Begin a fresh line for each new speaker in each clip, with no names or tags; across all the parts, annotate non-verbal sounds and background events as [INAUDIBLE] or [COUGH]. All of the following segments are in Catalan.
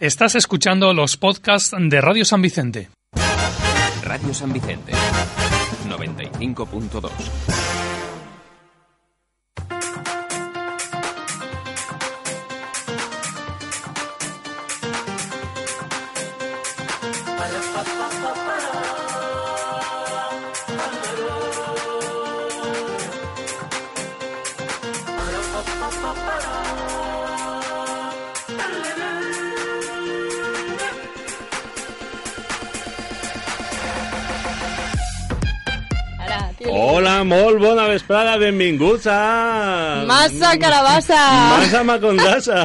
Estás escuchando los podcasts de Radio San Vicente.
Radio San Vicente, 95.2.
Ara, tio.
Hola, molt bona vesprada, benvinguts a...
Massa carabassa!
Massa Macondassa!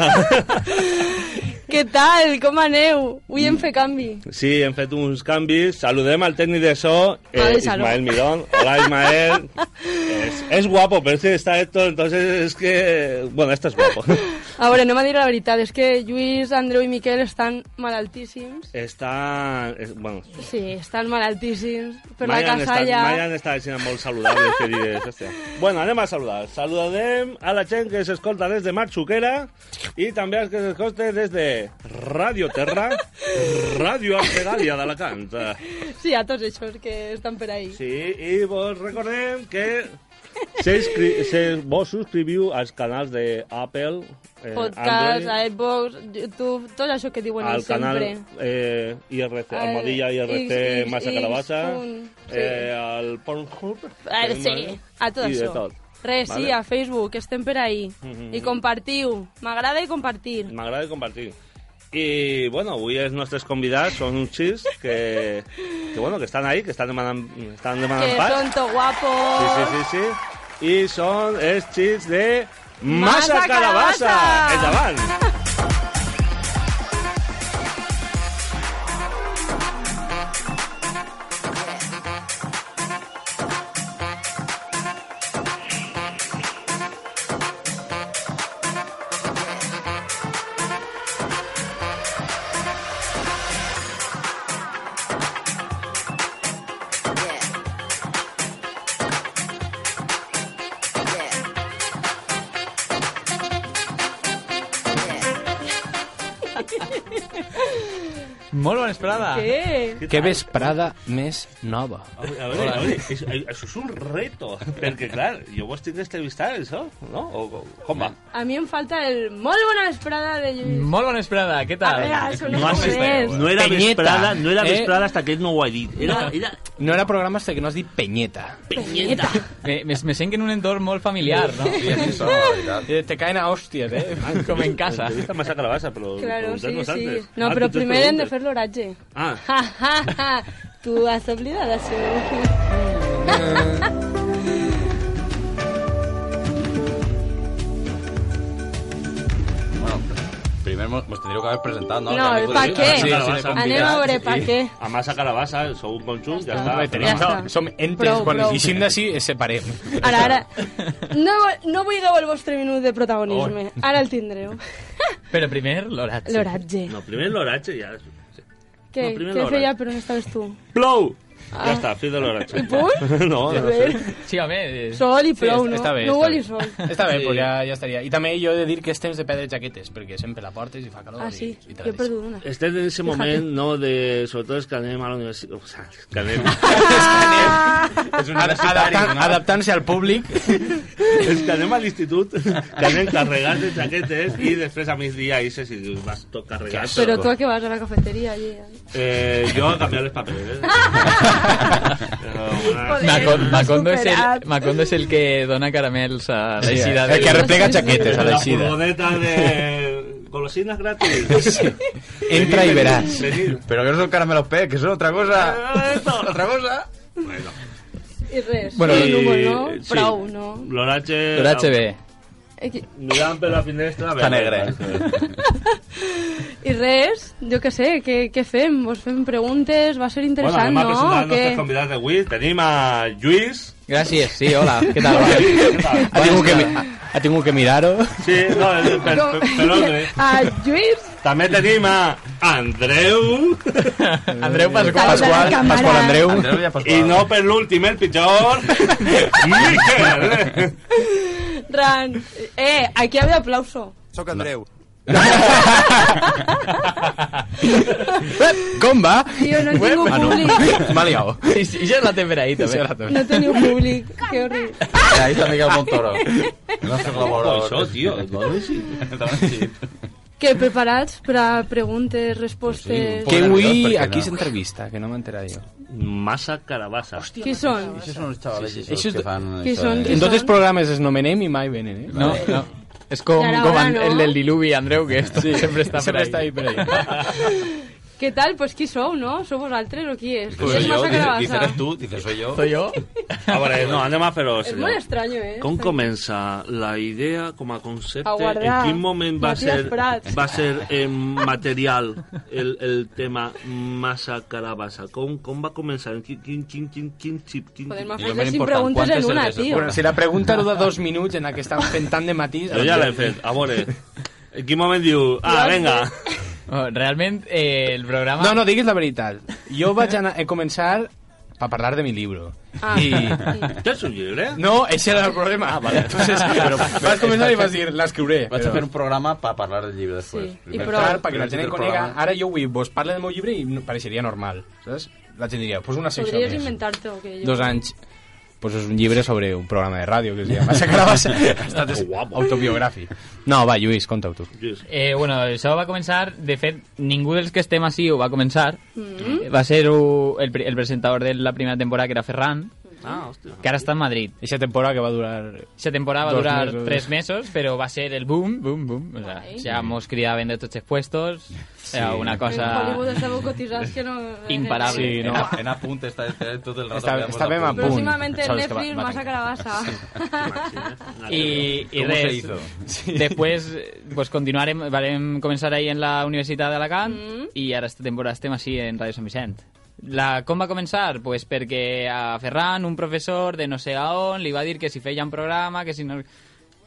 Què tal? Com aneu? Avui hem fet canvi.
Sí, hem fet uns canvis. Saludem al tècnic de so,
Vale,
eh,
salud.
Ismael Midón. Hola, Ismael. és, és guapo, però este está Héctor, entonces es que... Bueno, estás guapo.
A veure, no m'ha dit la veritat, és que Lluís, Andreu i Miquel estan malaltíssims.
Està... És, bueno,
Sí, estan malaltíssims. Per
mai
la
han
casalla...
Estat, mai han estat sent molt saludables, que digues, hòstia. Bueno, anem a saludar. Saludem a la gent que s'escolta des de Marxuquera i també als que s'escolten des de Radio Terra, Radio Arteràlia d'Alacant.
Sí, a tots això que estan per ahí.
Sí, i vos recordem que se inscri- se, vos subscriviu als canals de Apple, eh,
Podcast,
Android,
a Xbox, YouTube, tot això que diuen
al
ells
canal
sempre.
eh, IRC,
Al
Almodilla,
X,
IRC,
X,
Massa
X,
Calabassa,
punt, sí.
eh, al Pornhub.
A veure,
tenim,
sí, a tot
i de
això.
tot.
Res, sí,
Vale.
a Facebook, estem per ahí.
Mhm.
I compartiu. M'agrada i compartir.
M'agrada compartir. I, bueno, avui els nostres convidats són uns xis que, que, bueno, que estan ahí, que estan demanant, estan demanant
Que
pas.
tonto, guapo.
Ah. Sí, sí, sí, sí. I són els xis de
Massa
Massa,
Calabassa!
Calabassa! Endavant!
Molt bona esperada.
Què?
Que vesprada més nova.
A veure, a veure, a veure, és- això és un reto, perquè, clar, jo vos tinc d'estrevistar, això, no? O, o, com va?
A mi em falta el molt bona vesprada de Lluís.
Molt bona esperada, què
A
tal?
veure, això no,
No,
no
has-
és.
no era
Penyeta,
vesprada, no era
eh?
vesprada hasta que ell no ho ha dit. Era, era
No era programa hasta que no has dit penyeta.
Penyeta.
Me, me, me sent que en un entorn molt familiar, no?
Sí, així sona, la veritat.
Eh, Te caen a hòsties, eh? Com en casa.
Entrevista massa calabassa, però...
Claro, sí, sí.
vosaltres.
No,
Ah,
però
tu te
primer hem de
preguntes.
fer l'oratge.
Ah,
Ja, ja, ja. Tu has oblidat això.
Bueno, primer mos, mos tindríeu que haver presentat, no?
No,
Que han vingut
pa
aquí.
Ah,
què?
Sí, sí,
Anem
sí,
Anem a veure per què.
a massa calabassa, sou un conjunt, ja està.
Ja
Home, Ah, tenim,
està.
no, som entes,
Prou,
prou, quan
prou.
prou. eixim d'ací, eh, separem.
Ara, ara. No, no vull deu el vostre minut de protagonisme. Ara el tindreu.
Però primer, l'oratge.
L'oratge.
No, primer l'oratge ja... sí.
Què,
no, primer
què
l'oratge.
feia però on estaves tu?
Plou!
Ah.
Ja està, fi de l'oratge.
I punt?
[LAUGHS] No,
A
no sé.
veure,
Sí, home, eh,
Sol i
Sí,
prou,
està-
no?
està bé,
no
està
vol
bé.
i sol.
Està bé, pues ja, ja estaria. I també jo he de dir que és temps de perdre jaquetes, perquè sempre la portes i fa calor.
Ah, sí,
i,
jo
i te la
he
deixes.
perdut una.
Estem en Este ese moment, no, de... Sobretot els que anem a la universitat... O sigui, que
[LAUGHS]
anem...
És
Ad- Adaptant, adaptant-se al públic.
els que anem a l'institut, [LAUGHS] que anem carregats de jaquetes i després a migdia i se si dius, vas tot carregat.
Però tu a què vas? A la cafeteria? Allí,
Eh, jo a canviar les papereres.
[LAUGHS]
Però, bueno,
Macon- Macondo, és
Superat.
el, Macondo és el que dona caramels a l'eixida
el que
de...
replega jaquetes a
la
l'eixida.
furgoneta de golosines gratis.
Entra i veràs.
[LAUGHS]
Venid.
Pero que no son caramelos P, que son otra cosa. otra cosa.
Bueno.
I res.
Bueno,
I núvol,
I-
no?
sí.
Prou, no?
L'oratge...
L'oratge bé.
Aquí.
Mirant per la finestra...
Està
bé,
negre.
bé.
I res, jo què sé, què, què fem? Vos fem preguntes? Va ser
Bueno, anem
interessant,
a presentar els
no?
nostres convidats d'avui. Tenim a Lluís.
Gràcies, sí, hola, què
[LAUGHS]
tal?
Què tal?
Ha tingut que, mi- ha, ha tingut que mirar-ho.
Sí, no, és per, per, per
[LAUGHS]
ordre.
A Ah, Lluís?
També tenim a Andreu.
Andreu
Saluda la
Pasqual.
Pasqual,
càmera.
Pasqual Andreu.
Andreu ja
I no per l'últim, el [LAUGHS] pitjor, Miquel.
Ran. Eh, aquí hi ha aplauso.
Soc Andreu.
[LAUGHS] Com va?
Tio, no tinc
Ah, no.
[LAUGHS]
públic.
M'ha liado.
I, I ja és la temperadita,
Sí,
bé.
ara també.
No teniu públic, que horrible.
Ahí está Miguel Montoro. No soc col·laborador.
Això, tio, dona així.
Que preparats per a preguntes, respostes...
Sí.
Que avui
Perquè
aquí
no.
s'entrevista, que no m'he enterat jo.
Masa Carabasa.
Qui són?
Això són uns xavalets sí, sí,
Això és
que
de-
fan...
Qui
això
són?
de-
Qui
En tots els
són?
programes es nomenem i mai venen, eh?
No, no. És com,
Ja era
com
hora,
en-
no?
el del diluvi, Andreu, que esto sí, sempre està
Sempre
per
està
ahí.
ahí per ahí.
Què tal? Pues qui sou, no? Sou vosaltres o qui és?
Pues soy
és
yo,
massa
dice- dice,
carabassa.
eres tú, dice, soy yo.
Soy yo.
A veure, no, anem a fer-ho.
És
senyor.
molt estrany, eh?
Com comença la idea com a concepte?
A guardar.
En quin moment va
Matías
ser,
Prats.
va ser en material el, el tema massa carabassa? Com, com va començar? En Quin, quin, quin, quin, quin, xip, quin,
Podem
I
fer
lo més
5
important,
preguntes
quantes
en una,
cerveses?
tio.
Bueno,
Si la pregunta era de dos minuts en la que estan fent tant de matís...
Jo ja l'he fet, a veure. En quin moment diu, ah, venga.
[LAUGHS] Oh, Realment, eh, el programa...
No, no, digues la veritat. Jo vaig anar, a començar a parlar de mi libro.
Ah,
I...
Tens un llibre?
No, ese era el problema. Ah, vale. Entonces, [LAUGHS] però vas començar i vas dir, l'escriuré.
Vaig a fer
Però...
un programa per parlar del llibre després.
Sí, i
Primer
prou.
tal,
Clar, perquè la
primer
gent
títol
el conega.
programa.
Ara jo avui vos parle del meu llibre i no- pareixeria normal, saps? La gent diria, pues una secció
Podries
més.
inventar-te o què? jo-
Dos anys pues és un llibre sobre un programa de ràdio que es diu Massa [LAUGHS] Carabassa. Ha estat autobiogràfic. No, va, Lluís, conta-ho tu.
Lluís.
Eh, bueno, això va començar, de fet, ningú dels que estem així ho va començar. Va ser uh, el, pri- el presentador de la primera temporada, que era Ferran,
Ah, hòstia.
que ara està a Madrid.
Eixa temporada que va durar...
Esa temporada va a
Dos
durar
mesos.
tres meses, pero va a ser el boom, boom, boom. O sea,
Guay.
ya hemos criado vender estos puestos. Era una
En Hollywood eh,
cosa...
estàveu cotitzats que no...
Imparable.
Sí, no.
En, a- en apunte està tot el rato.
Està-
veamos
estàvem
apuntes.
a punt.
Próximamente en
Sabes que va-
Netflix,
va
massa carabassa. Ah,
Y, y
¿Cómo se
res.
hizo?
[LAUGHS] Después, pues continuaremos, vamos a comenzar ahí en la Universidad de Alacant
Mm.
y ahora esta temporada estem así en Radio San Vicente. La, com va començar? Pues perquè a Ferran, un professor de no sé a on, li va dir que si feia un programa, que si no...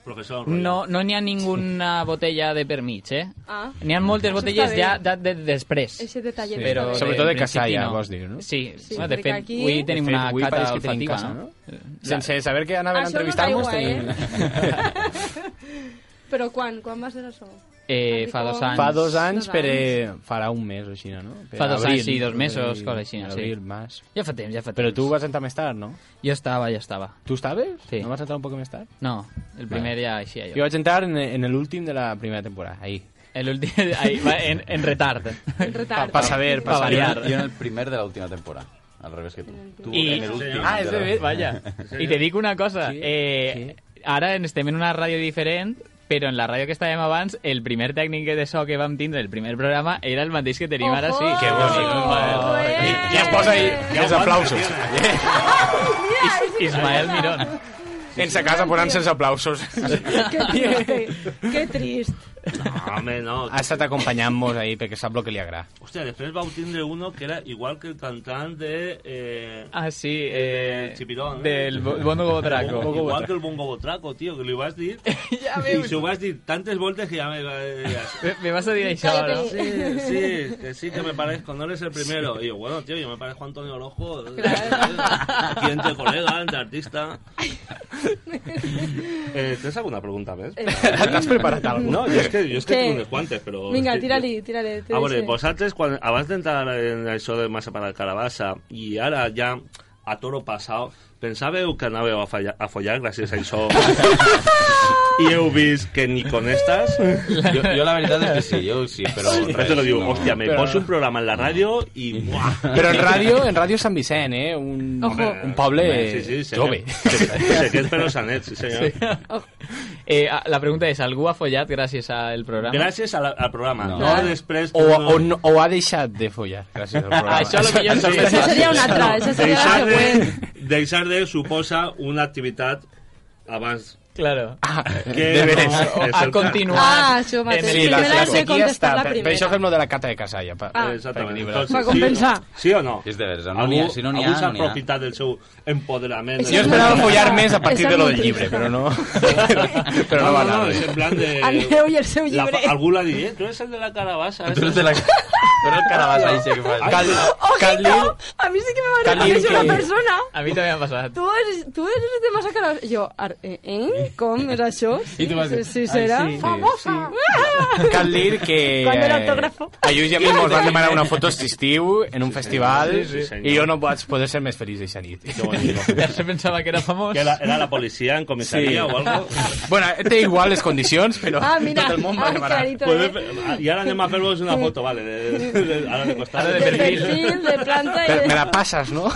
Professor.
No no n'hi ha ninguna botella de per mig, eh?
[LAUGHS] Ah.
N'hi ha moltes
Això
botelles
està bé.
ja de, de, després.
Ese detallet.
Sí,
però
està bé.
Sobretot de
principi
Casalla, vols dir, no?
Sí,
Sí,
sí bueno, de
perquè
fet,
aquí-
aquí... avui tenim
De fet,
una
avui
cata
pareix que tenim
olfativa,
casa,
no?
Sense saber que anaven a
Això no
entrevistar-nos...
treu, eh?
tenim-
[LAUGHS] Però quan? Quan va ser això?
Eh, fa dos anys.
Fa dos anys,
Dos
per,
anys.
eh, farà un mes o així, no? Per
Fa dos anys, sí, dos mesos, cosa així, sí.
Abril, març...
Ja fa temps, ja fa temps.
Però tu vas entrar més tard, no?
Jo estava, ja estava.
Tu estaves?
Sí.
No vas entrar un poc més tard?
No, el primer ja així,
Jo
jo.
vaig entrar en, en l'últim de la primera temporada, ahir.
El últim, [LAUGHS] ahí, va, en, en retard.
En retard.
Pa saber, pa
Pa
saber.
variar.
Yo en el primer de la última temporada. Al revés que tú. Tú
Y-
en el último.
Ah, és de
la-
bé.
Vaya. I te dic una cosa.
Sí,
Eh, ara estem en una ràdio diferent, però en la ràdio que estàvem abans, el primer tècnic de so que vam tindre el primer programa era el mateix que tenim ara sí.
Que bonic. eh.
I es posa ahí, els aplausos.
Ismael Mirón.
En sa casa posant-se els
[LAUGHS]
aplausos.
Que trist. Que trist.
No, home,
[LAUGHS]
no.
Ha estat acompanyant-nos ahir perquè sap el que li agrada.
Hòstia, després vau tindre uno que era igual que el cantant de... Eh,
Ah, sí. Eh,
del Chipirón, eh?
Del Bo- Bono Botraco.
Igual que el Bongo Botraco, tío, que li vas
[LAUGHS]
dir...
ja
I
veus.
s'ho vas dir tantes voltes que ja me... Ja,
Me, me vas a dir això, no?
Cállate.
Sí, sí, que sí, que me parezco, no eres el primero. Y yo, bueno, tío, yo me parezco a Antonio Orojo. eh, Aquí entre colega, entre
[LAUGHS]
artista. Eh, ¿Tienes alguna pregunta, ves?
Eh,
T'has preparat
No, yo es que, yo es que
Sí.
tengo unos guantes, pero...
Vinga, tira-li, tira-li.
A veure, Ah, vosaltres, quan, abans d'entrar en això de massa per la carabassa i ara ja a toro passat, pensàveu que anàveu a, fallar, a follar gràcies a
[LAUGHS]
això i heu vist que ni con estas...
Yo, yo la verdad es que sí, yo sí, pero...
Ja te lo digo,
no.
hòstia, me
Però-
poso un programa en la ràdio i... Buah,
Però en ràdio, en ràdio Sant Vicent, eh? Un,
Ojo.
un poble
Sí, sí, sí.
jove.
Sequet, però sanet, sí senyor. Sí.
Eh, ah, la pregunta és, algú ha follat gràcies al programa?
Gràcies a la, al programa. No,
No.
no després...
O, o, no- o ha deixat de follar, [LAUGHS] gràcies al programa.
Això a lo millor sí.
Això seria una altra, això seria la
Deixar
següent.
de, deixar de suposa una activitat abans
Claro.
Ah,
que
de veres.
no és
ha
el cas.
continuat
Ah, això mateix.
en
Sí, la,
Primer
la
has de
sequia està...
contestar la
Per, per
primera.
això fem lo de la cata de Casalla. Pa,
Ah.
Exactament.
Per
Entonces,
Va compensar.
Sí, sí o no?
És de veres, no n'hi ha, si no n'hi ha,
algú s'ha
no n'hi ha.
aprofitat del seu empoderament.
Jo
Això
esperava follar més a
És
partir de lo del
molt
llibre,
trist.
però no... però no va anar
No, és
[LAUGHS]
bé.
en plan de...
El meu i el seu
La,
llibre.
algú l'ha dit, eh? Tu eres el de la carabassa.
Tú eres de la... Però el carabàs ahí sí que fa.
Cal, Cal Lil-
¡Ojito! A mí sí que me van a
Calil,
decir
que-
una persona.
A mi també m'ha
[LAUGHS]
passat.
Tú eres, tú eres de más acarados. Yo, ar- eh, ¿eh? ¿Cómo era yo? Sí,
tú vas a-
sí, sí,
Ay,
será.
sí.
¡Famosa! [LAUGHS]
Cal dir que...
Quan era
eh,
autògrafo.
A Lluís i a mi mos van demanar una foto aquest estiu en un festival
sí, senyor.
i jo no vaig poder ser més feliç eixa nit.
Qué bonito.
Ja se pensava que era famós.
Que era, era la policía en comisaría o algo.
[LAUGHS] bueno, té igual les condicions, però
Ah, mira,
tot el món
ah,
va demanar.
clarito,
Pues,
¿eh?
eh, y ahora anem a fer-vos una foto, vale. De, de, de, ara de costat.
Ara de
De
perfil.
perfil, de planta
Però
y
me
de...
la passes, no?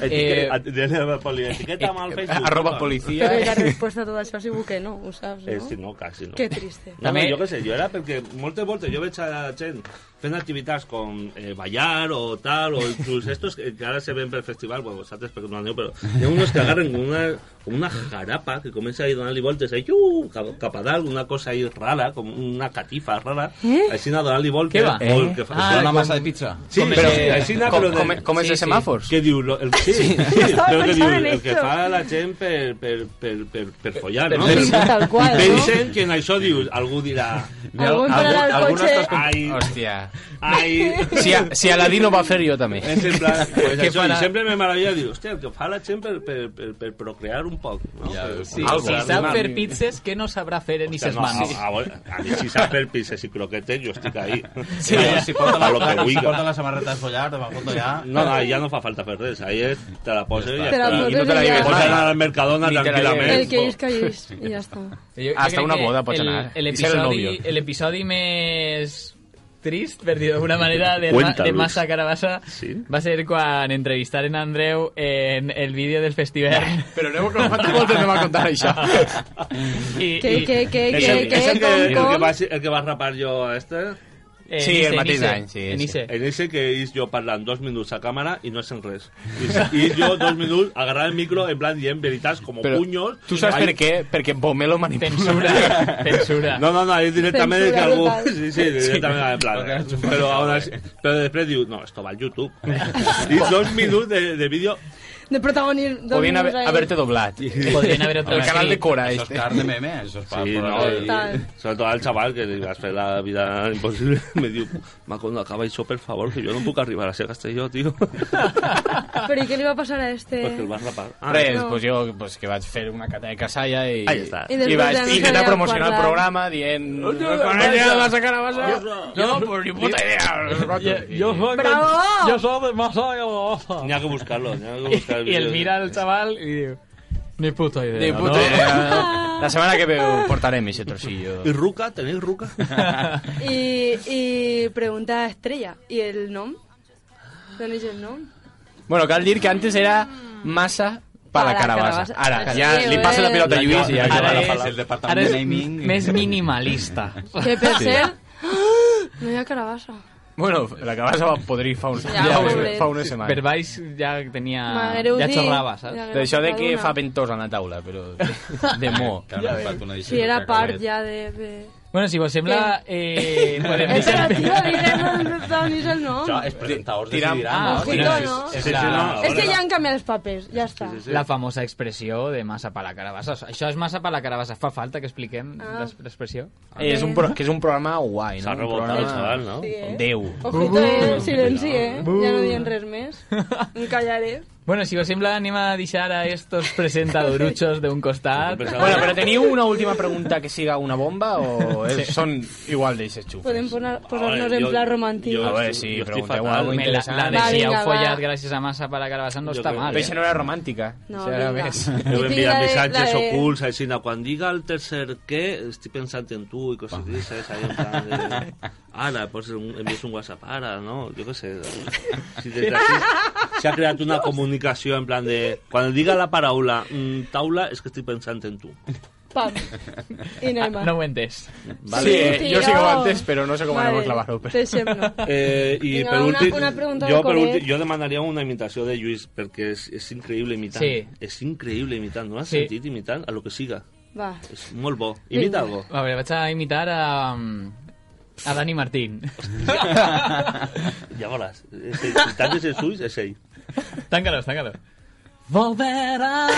Eh,
Etiqueta, de, de poli, etiqueta
eh,
amb el Facebook.
Arroba
no?
policia.
Pero y la respuesta a todo eso así buque, ¿no? ¿Usas, no?
Eh, sí, no, casi no.
Qué triste.
No,
També-
no, jo què sé, jo era perquè moltes voltes jo veig a la gent fent activitats com eh, ballar o tal, o inclús estos que, que ara se ven per festival, bueno, vosaltres perquè no aneu, però hi ha uns que agarren com una, com una jarapa que comença a ir donant-li voltes ahí, uh, cap, cap a dalt, una cosa ahí rara, com una catifa rara, eh? així anar donant-li voltes.
Què va?
o el que fa,
Ah, una massa de pizza.
sí,
com
però,
ese-
així anar,
Com,
però...
com,
de-
com és
Sí,
de
sí.
semàfors?
Què diu? Lo, el, sí, sí,
Estava
però que diu,
pensant en
el que
esto.
fa la gent per, per, per, per, per follar, no?
Sí, tal qual, ¿no?
Pensen que en això dius, algú dirà...
Algú entrarà al
Alguna
cotxe...
estàs com-
Ai.
Hòstia.
Ai...
Si, a, si Aladino va fer, jo també.
[LAUGHS]
És en plan, pues
Què
això,
farà?
i sempre me maravilla dir, hòstia, el que fa la gent per, per, per, per procrear un poc, no?
Ja,
Per-
sí,
algo,
si
per
sap
animar.
fer pizzas, què no sabrà fer en
Hòstia,
aquestes
no,
mans?
Ah,
a, a, a, mi si sap fer pizzas i croquetes, jo estic ahí.
Sí, si porta
a
la,
lo que
si porta
vulga.
la samarreta a follar, te va a foto ja...
No, no, ja no fa falta fer res. Ahí és, te la poses i ja
Te la
està.
poses
I no te la
i ja.
lleves. Pots anar al Mercadona
Ni te la
tranquil·lament.
lleves.
El que es que es y ya está.
Jo- jo
Hasta
crec
una
que
boda pots
el-
anar. eh?
el
I ser el
episodi-
novio.
El episodi més trist, per dir d'alguna manera, de, ma,
Cuéntanos.
de Massa Carabassa
Sí.
va ser quan entrevistaren a Andreu en el vídeo del festival.
Però no, no,
[LAUGHS]
quantes voltes no m'ha contat això?
I,
¿Qué,
i-
qué, qué,
És el,
qué,
és el,
qué,
que, el, que
com,
va,
com?
el que va rapar jo a este,
en
Sí,
Ise,
el
eh, en
mateix
Ise,
any, sí,
en
sí.
Ise.
en ese que és jo parlant dos minuts a càmera i no sent res. I, i jo dos minuts agarrant el micro en plan dient veritats com
Però
punyos.
tu saps
Ai,
per què? Perquè Bomelo manipula.
Censura, censura.
No, no, no, és directament de que
Censura
algú...
total.
[LAUGHS] Sí, sí, directament en plan. eh? Però, aún así, però després diu, no, esto va al
[LAUGHS]
YouTube. I dos minuts de, de vídeo...
De protagonismo.
Podien haver, haver-te doblat.
Podrien haver
El canal de
transcrit.
Cora,
Això és
este.
car de meme, això és
Sí, no,
Total.
sobretot al xaval que li vas fer la vida impossible, [LAUGHS] me diu, ma, quan acaba això, per favor, que jo no puc arribar a ser Castelló, tio.
Pero ¿y qué le iba a pasar a este?
Perquè el vas rapar. Ah,
Res,
No.
pues jo pues, que vaig fer una cata de casalla i...
Ahí está.
I després
I vaig
ja no
intentar
sabíem
promocionar el
parlar.
programa dient... No, vas a cara, vas a... No, pues ni puta idea.
Yo soy,
Bravo!
yo soy de Massa Carabassa.
N'hi ha que buscar-lo, n'hi ha que buscar el
I el
vídeo.
mira el xaval i diu... Ni puta idea,
Ni puta
no?
idea. La setmana que ve ho portarem, ese trocillo.
I Ruca, tenéis Ruca?
Y, y pregunta estrella. ¿Y el nom? ¿Tenéis el
[LAUGHS]
nom?
Bueno, cal dir que antes era massa pa la
Mm. Pa la carabassa.
carabassa. Ara,
Sí,
ja li passa la
eh.
pilota a Lluís i ja
Ara
acaba la
és-
pala.
El departament
Ara és
de naming.
més [LAUGHS] minimalista.
Que per ser... [GASPS] No hi ha carabassa.
Bueno, la carabassa va podrir fa, un,
Ja,
ja,
pobret.
fa una setmana.
Per baix ja tenia...
M'agreu
Ja
dir-
xorrava, saps?
m'agreu
D'això de
dir
que
una.
fa ventós a la taula, però
[LAUGHS]
de mo.
Que ara m'ha fet una
Si era part ja de... de...
Bueno, si vos sembla... Eh, podem
[LAUGHS] Eh,
deixar...
però, tio, diguem on protagonitza el nom.
Això, els presentadors
Tiram-
decidiran.
Ah,
no?
Ojito,
Quina-
no?
Sí, sí, no.
És que ja han canviat els papers, ja està.
Sí, sí, sí.
[LAUGHS] La famosa expressió de massa per la carabassa. Això és massa per la carabassa. Fa falta que expliquem
Ah.
l'ex- l'expressió?
És Eh, un, pro, que és un programa guai, no?
S'ha
Un
rebotat el
programa-
xaval, no?
Sí, eh?
Déu.
Ojito, eh? Silenci, eh? Ja no diem res més.
[LAUGHS]
Em callaré.
Bueno, si vos sembla, anem a deixar a estos presentadoruchos d'un costat.
Bueno, però teniu una última pregunta que siga una bomba o és, són igual d'eixes xufes?
Podem posar- posar-nos
Vale,
en
jo-
plan romàntic.
jo-
A veure, si
Jo estic
pregunteu
fatal.
alguna
Home, la,
cosa
la de
Va,
interessant.
si
vinga,
heu
va.
follat gràcies a massa per la carabassa no
Jo
està
crec-
mal.
Però això
Eh?
no era romàntica.
No,
això era
vinga.
més.
Jo
Jo tinc
enviar
la de-
missatges
la de-
ocults, així, no, quan diga el tercer què, estic pensant en tu i coses d'aquestes, ahí en plan de... Ara, pues, un, envies un WhatsApp, ara, no? Jo què sé. Si des d'aquí s'ha creat una comunicació en plan de... Quan diga la paraula mm, taula, és que estic pensant en tu.
Pam. I
[LAUGHS]
Ah,
anem.
no ho he entès.
Vale. Sí, eh, jo sí que ho he entès, però no sé com anar-ho
Vale,
a clavar-ho. però-
Te sembla.
Eh, I
Vinga,
per
una-
últim,
una pregunta
jo,
de
per
Colet.
últim, jo demanaria una imitació de Lluís, perquè és, és increïble imitant.
Sí.
És increïble imitant, no has
Sí.
sentit imitant a lo que siga.
Va.
És molt bo. Imita algo.
A veure, vaig a imitar a... a
[LAUGHS]
Dani Martín.
Ja veuràs. És ell. Si tanques els ulls, és ell.
Tanca-los, tanca-los.
[LAUGHS]
Volverá.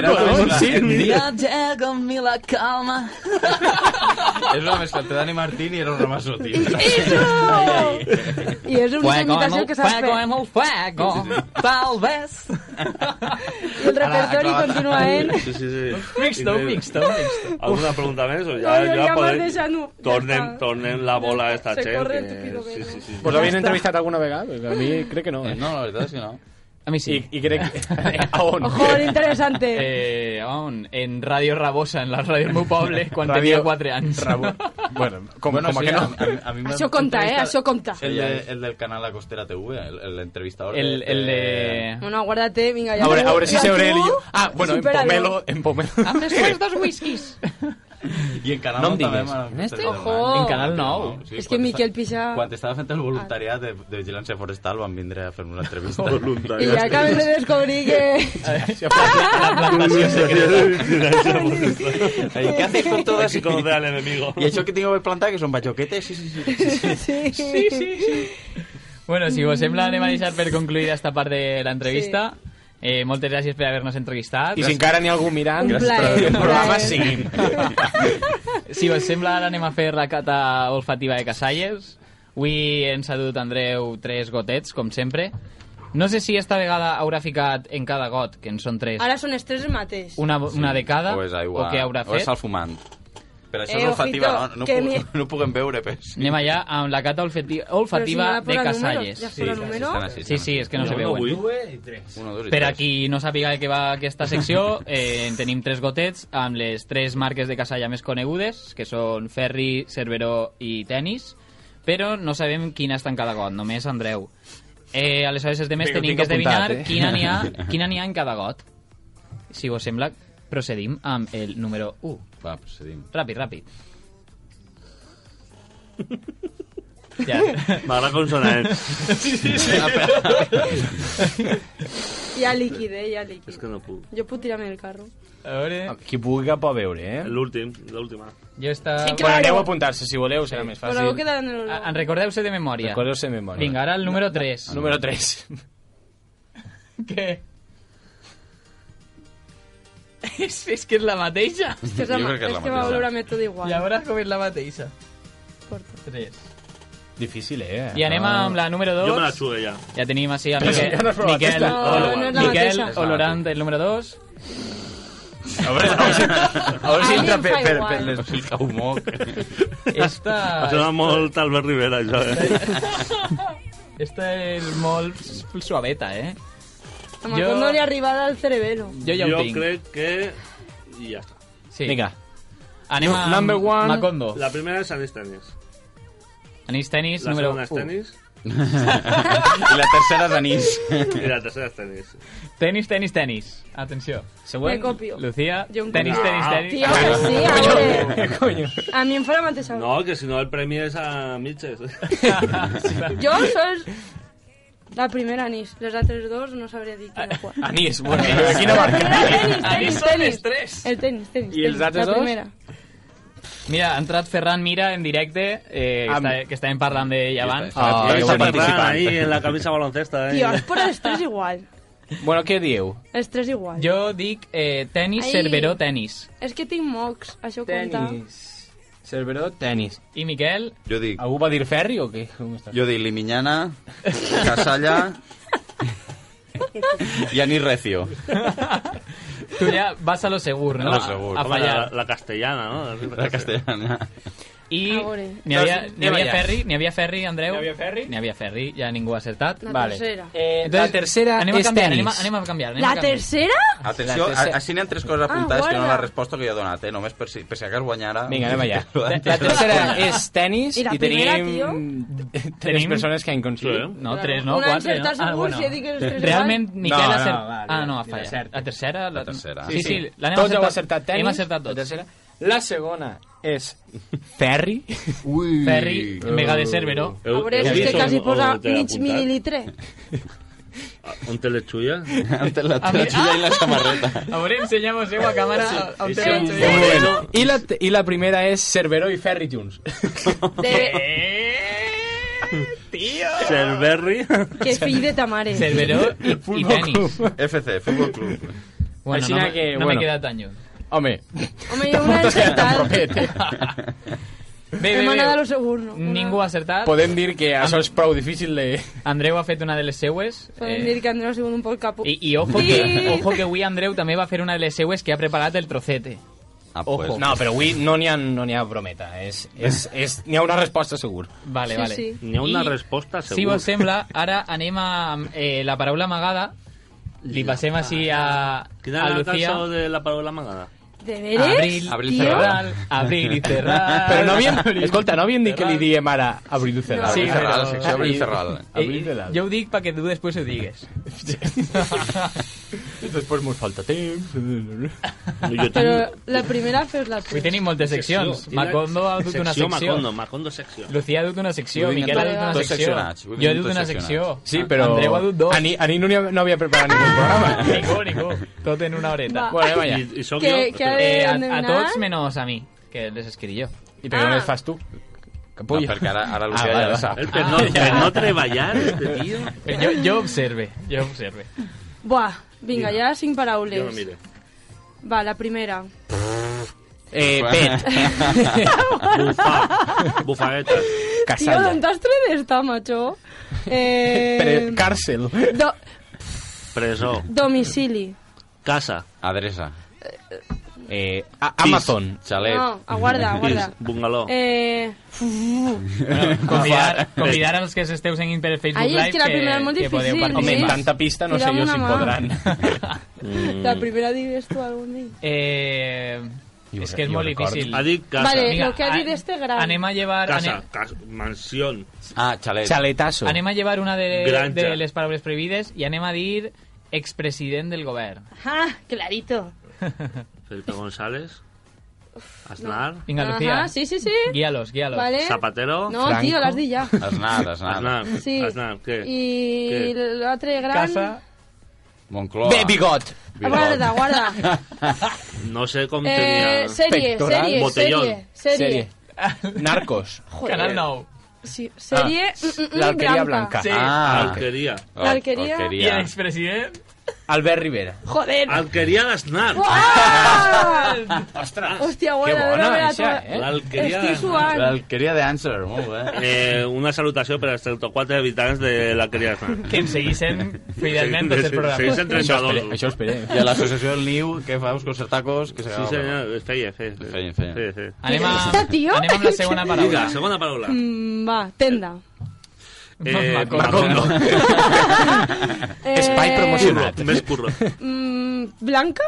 Ya llegó mi la calma.
Es una mezcla entre Dani Martín y Eros Ramazotti.
[LAUGHS] ¡Eso! Y es una
Fuego,
imitación que
hemos-
se hace.
fuego, hemos fuego. Tal vez.
[LAUGHS]
Y el repertorio continúa
[LAUGHS]
en.
Ah, Sí, sí, sí.
Mixto,
Increíble.
mixto, mixto.
¿Alguna pregunta más? O
No,
ya,
yo
ya
ya más
podéis-
de esa no. Ya
Tornen,
está.
tornen la bola a esta
Se
chen.
corre el
que-
tupido
Sí,
velo.
sí,
Pues
sí.
¿Vos lo habéis entrevistado alguna
ah,
vegada? A mí crec que no.
Eh, [LAUGHS]
Eh?
No, la verdad es que no.
A mí sí.
I, I crec que... A on?
Ojo, Oh, interesante.
Eh, aún, en Radio Rabosa, en la radio del meu
[LAUGHS]
poble, quan
Radio
tenia 4 anys.
Rabo... Bueno, com,
Bueno,
com
sí,
a que no?
a- a- a mí me-
Això conta, eh,
entrevista-
això conta.
El, de- el del canal La Costera TV, el, el entrevistador.
El, el de...
Bueno, aguárdate, venga, ya.
A veure,
lo-
a veure si
ya
sabré ell
tú,
i jo. Ah, bueno, en
supéralo.
Pomelo... En Pomelo...
Després dos whiskies.
Y en Canal
No em
Nou
digues.
també m'han
En este?
entrevistat.
Ojo. En
Canal Nou.
És que
quan
Miquel
esta-
Pixar-
Quan estava fent el voluntariat de, de Vigilància Forestal van vindre a fer una entrevista.
Y ya acaben de descubrir que.
Ey, ¿Qué haces con todo
Si
eso?
conoce al enemigo.
¿Y eso que tengo que plantar que son bachoquetes? Sí, sí, sí.
[LAUGHS] sí,
Sí, sí, sí. Bueno, si vos sembla, anem a deixar per concluir esta part de l'entrevista. Eh, moltes gràcies per haver-nos entrevistat.
I si encara n'hi ha algú mirant...
Un plaer,
que el
un
programa
plaer.
seguim.
Si us sembla, ara anem a fer la cata olfativa de Casalles. Avui ens ha dut Andreu tres gotets, com sempre. No sé si esta vegada haurà ficat en cada got, que en són tres,
Ahora son estrés mates.
una, una de cada,
O és aigua.
o què haurà
O és
fet.
el fumant. Però això
Eh,
és olfativa,
ojito,
no, no,
que
puc,
mi-
no ho puguem veure, pes.
Anem allà amb la cata olfati-
Pero si no
olfativa
la
de
fuera número,
Casalles.
ya fuera número.
estan així,
Sí,
estan
sí, és que no se
Bueno,
veuen.
avui-
Uno, dos i
Per
tres.
a qui no sàpiga de què va aquesta secció,
[LAUGHS]
eh, en tenim tres gotets amb les tres marques de casalla més conegudes, que són Ferri, Cerveró i Tenis, però no sabem quina està en cada got, només Andreu. Eh, aleshores, els demés
Vinga, ho
tenim
tinc
que esdevinar
apuntat, eh?
quina n'hi
[LAUGHS]
ha, quina n'hi ha en cada got. Si vos sembla, procedim amb el número 1.
Va, procedim.
Ràpid,
[LAUGHS]
ràpid. Ja.
M'agrada eh. consonant.
Ya liquide, ya liquide.
És que no puc.
Yo puedo tirarme del carro.
A veure...
Qui pugui que pot veure, eh?
L'últim, l'última.
Jo està...
Sí,
Bueno,
Claro.
aneu a apuntar-se, si voleu, serà més
Pero luego
fàcil.
quedarán en el.
Ah, En recordeu-se de memòria.
Recordeu-se de memòria.
Vinga, ara el número 3.
Número 3.
[LAUGHS]
Què? és, és que és la mateixa.
Es que, se
Yo
llama-
creo que es
es
la
que va a
mateixa.
volver a método igual.
I a veure com és la mateixa.
Corta.
Tres.
Difícil, eh?
I anem amb la número
Jo Ah. me la
2.
xugue ja.
Ja tenim
[LAUGHS]
així el
Però si
Miquel,
ja no has provat
Miquel,
aquesta.
No, no és la
Miquel
Ah,
mateixa.
olorant el número 2.
[LAUGHS]
A veure, a veure si, a veure si
A mi
entra
em
per,
fa
per,
igual.
per les...
El caumoc.
Esta,
Ha sonat molt Albert Rivera, això, eh?
esta és molt suaveta, eh?
A
Yo-
Macondo le arribada al cerebelo.
Jo ja ho
jo
tinc.
crec que... I ja està.
Sí.
Vinga.
Anem a
Number one.
Macondo.
La primera és Anistanis.
Anís tenis,
La
número
segona és
1.
tenis
I la tercera és anís.
i la tercera és tenis.
Tenis, tenis, tenis. Atenció. Següent.
Me copio.
Lucía.
Jo em
Tenis,
copio.
tenis, tenis.
Tío, [LAUGHS] que sí, hombre.
Què coño?
A mí en fuera mates ahora.
No, que si no el premi és a mitges.
Yo soy la primera anís. Las otras dos no sabría decir quién juega.
[LAUGHS]
Anís, bueno, aquí no marca.
Tenis, tenis, tenis. El tenis, tenis.
¿Y
tenis,
els altres
la
dos?
primera.
Mira, ha entrat Ferran Mira en directe, eh, que,
Amb-
està, que estàvem parlant d'ell abans.
Ah,
Ah,
que
està
bonic.
parlant ahí en la camisa baloncesta, eh?
Tío, es por el estrés igual.
Bueno, què dieu?
El estrés igual.
Ah. Jo dic eh, tenis,
Ai.
Cerveró, tenis.
Es que tinc mocs, això compta.
Cerveró, tenis.
I Miquel,
Jo dic,
Algú va dir ferri o què? Com està?
jo dic Limiñana, Casalla i anís recio.
[LAUGHS] tu ja vas a lo segur, no?
A lo segur.
A, a
Home, la,
fallar.
la castellana, no?
La castellana.
I
A veure.
n'hi havia,
Doncs,
n'hi havia
ja.
Ferri, n'hi havia Ferri, Andreu.
N'hi havia Ferri?
N'hi havia Ferri, ja ningú ha acertat.
La
Vale.
tercera.
Eh, la tercera
anem a
és
canviar,
tenis.
anem a, anem a canviar. Anem a
La
canviar.
tercera?
Atenció,
La
a-
tercera-
així n'hi ha tres coses apuntades
Ah,
que no la
guarda.
resposta que jo he donat, eh? Només per si, per si acas guanyara...
Vinga, anem allà.
Lo
La,
d'antes
la
no la
tercera
conec.
és tenis
I
i,
la primera,
tenim tres
Tenim-
persones que han coincidit.
Sí. ¿eh?
No, tres, no, Ah,
Una
quatre, no?
encertar segur, si he dit que els tres ¿eh?
Realment,
igual.
Miquel
No,
ha
no,
acert...
vale,
ah, no,
la
ha fallat.
tercera.
La tercera...
La tercera.
Sí, sí, l'hem
Tots
acertat.
heu acertat tenis.
Hem acertat tots.
La tercera. La segona és ferri.
Ui.
Ferri, mega de Cerveró.
A veure, és que quasi posa mig mil·lilitre.
On te les xulla?
Antes la teva xulla
Ah.
i la samarreta.
A veure, ensenyem seu a càmera a- a on té
Això-
el
Sí.
seu. [LAUGHS]
I la, I la primera és Cerveró i Ferri junts.
De...
Serberry.
Que fill de Tamares.
Cerveró y, y tenis.
[LAUGHS]
FC, Fútbol Club.
Bueno,
Así
no, me-
que,
no me
bueno.
queda taño.
Home,
Home, jo una encertat.
[LAUGHS] Bé,
Hem
bé,
anat a lo
bé.
segur, no? Una-
Ningú ha acertat.
podem dir que això és prou difícil de...
Andreu ha fet una de les seues.
Podem dir que Andreu ha sigut un poc capo.
I, i ojo,
Sí.
que, ojo que avui Andreu també va fer una de les seues que ha preparat el trocete.
Ah,
Ojo.
pues.
No.
No.
però avui no n'hi ha, no n'hi ha brometa. És, és, és, n'hi ha una resposta segur.
Vale,
Sí,
vale.
sí.
N'hi ha una
I,
resposta, segur.
Si vos sembla, ara anem a eh, la paraula amagada. Li passem així a,
Quina
a
era la
Lucía.
cançó de la paraula amagada?
De veres?
Abril,
Abril
y
cerrada.
cerrar. Abril y [LAUGHS] cerrar.
Però no
[LAUGHS]
havien... Escolta, no havien dit que li diem ara Abril
La
Cerral.
Sí,
sí,
però-
cerral, secció
Ah,
Abril Cerral.
Abril cerrada.
yo digo para que tú después lo digas.
Després mos falta
[LAUGHS]
temps.
Jo
Però la primera fes la
Hoy
primera.
tenéis moltes seccions. Macondo ha dut una
secció. Macondo,
secció.
Macondo secció.
Lucía ha dut una secció.
Vull dir,
Miquel ha dut
dos
una secció.
seccionats, vull dir,
Jo he dut
dos
una
seccionats.
secció.
Sí, però...
Andreu ha dut dos. [LAUGHS]
Ani, Ani no, n'hi ha- no havia preparat ningú programa.
Ningú, ningú. Tot en una horeta.
Va.
Bueno, anem allà.
I, i sóc
Que-
jo.
que ha de-
Eh, a, a
endevinar.
tots menos a mí, que les escribí yo.
I però no
Ah.
les fas tu.
No,
Capullo.
perquè ara, ara Lucía
Ah, vale,
ja
va.
la sap.
El per no, per no treballar, este
[LAUGHS]
tio.
Pero Eh, Yo, yo observe, yo observe.
Buah, vinga, hi ha cinc
Jo no
paraules.
mire.
Va, la primera.
Eh, pet.
[LAUGHS] Bufa. Bufadeta.
Tio,
Casalla.
d'on t'has tret esta, macho? Eh,
Pre càrcel.
do,
Presó.
domicili.
Casa.
Adreça.
Eh, a Amazon.
Chalet.
No, aguarda,
Pis.
aguarda.
Bungalow.
Eh,
Convidar, convidar a los que se esteu seguint per Facebook
Ai, és
Live
que la primera és molt
que podeu
difícil,
Home, amb
participar.
Sí.
tanta pista no sé
Tira'm
jo si
una
en
mà.
podran. [LAUGHS]
Mm.
la primera digues tu algun dia.
Eh,
Jo
és
re-
que és
jo
molt
recordo.
difícil.
Ha dit casa.
Vale.
Vinga,
Lo que ha dit
a-
este gran.
Anem a llevar...
Casa.
Anem,
casa. Mansión.
Ah, chalet.
Chaletazo.
anem a llevar una de,
Granja.
de les paraules prohibides i anem a dir expresident del govern.
Ah, clarito.
Felipe González. Aznar.
Vinga, Lucía.
Ajá, sí, sí, sí.
Guíalos, guíalos.
Vale.
Zapatero.
No,
Franco.
tio, l'has dit ja.
Aznar, Aznar.
Aznar.
Sí.
Aznar, què?
I
Què?
l'altre gran...
Casa.
Moncloa.
Bé, bigot.
Bilbao.
Guarda, guarda.
No sé com
Eh,
tenia...
sèrie,
Pectoral.
sèrie,
Botellón.
sèrie, sèrie.
Narcos.
Joder.
Canal 9.
Sí, sèrie... mm, mm, mm,
L'Alqueria
Granca.
Blanca.
Sí.
Ah,
Alquería.
Al-
Alquería.
I l'expresident...
Albert Rivera.
Joder.
Alquería d'Aznar.
Uah!
Ostres.
Hòstia, guarda,
bona,
dona vera
això,
tota.
eh?
L'alqueria
Estic suant.
L'alqueria de Answer, molt bé.
Eh, una salutació per als 34 habitants de l'Alqueria d'Aznar.
que ens seguissin fidelment tots
Sí,
el
sí,
este programa.
segueixen
Això
32.
esperem. Això esperem.
I a l'associació del Niu, que fa uns concertacos, que se
Sí, senyor, feia, feia.
Feia, feia.
Sí, sí.
Anem,
Este tio.
a, anem amb la segona paraula.
Vinga, segona paraula.
Mm, va, tenda.
Eh,
Macondo.
Eh,
Espai
Curro,
promocionat.
més curro.
Mm, blanca?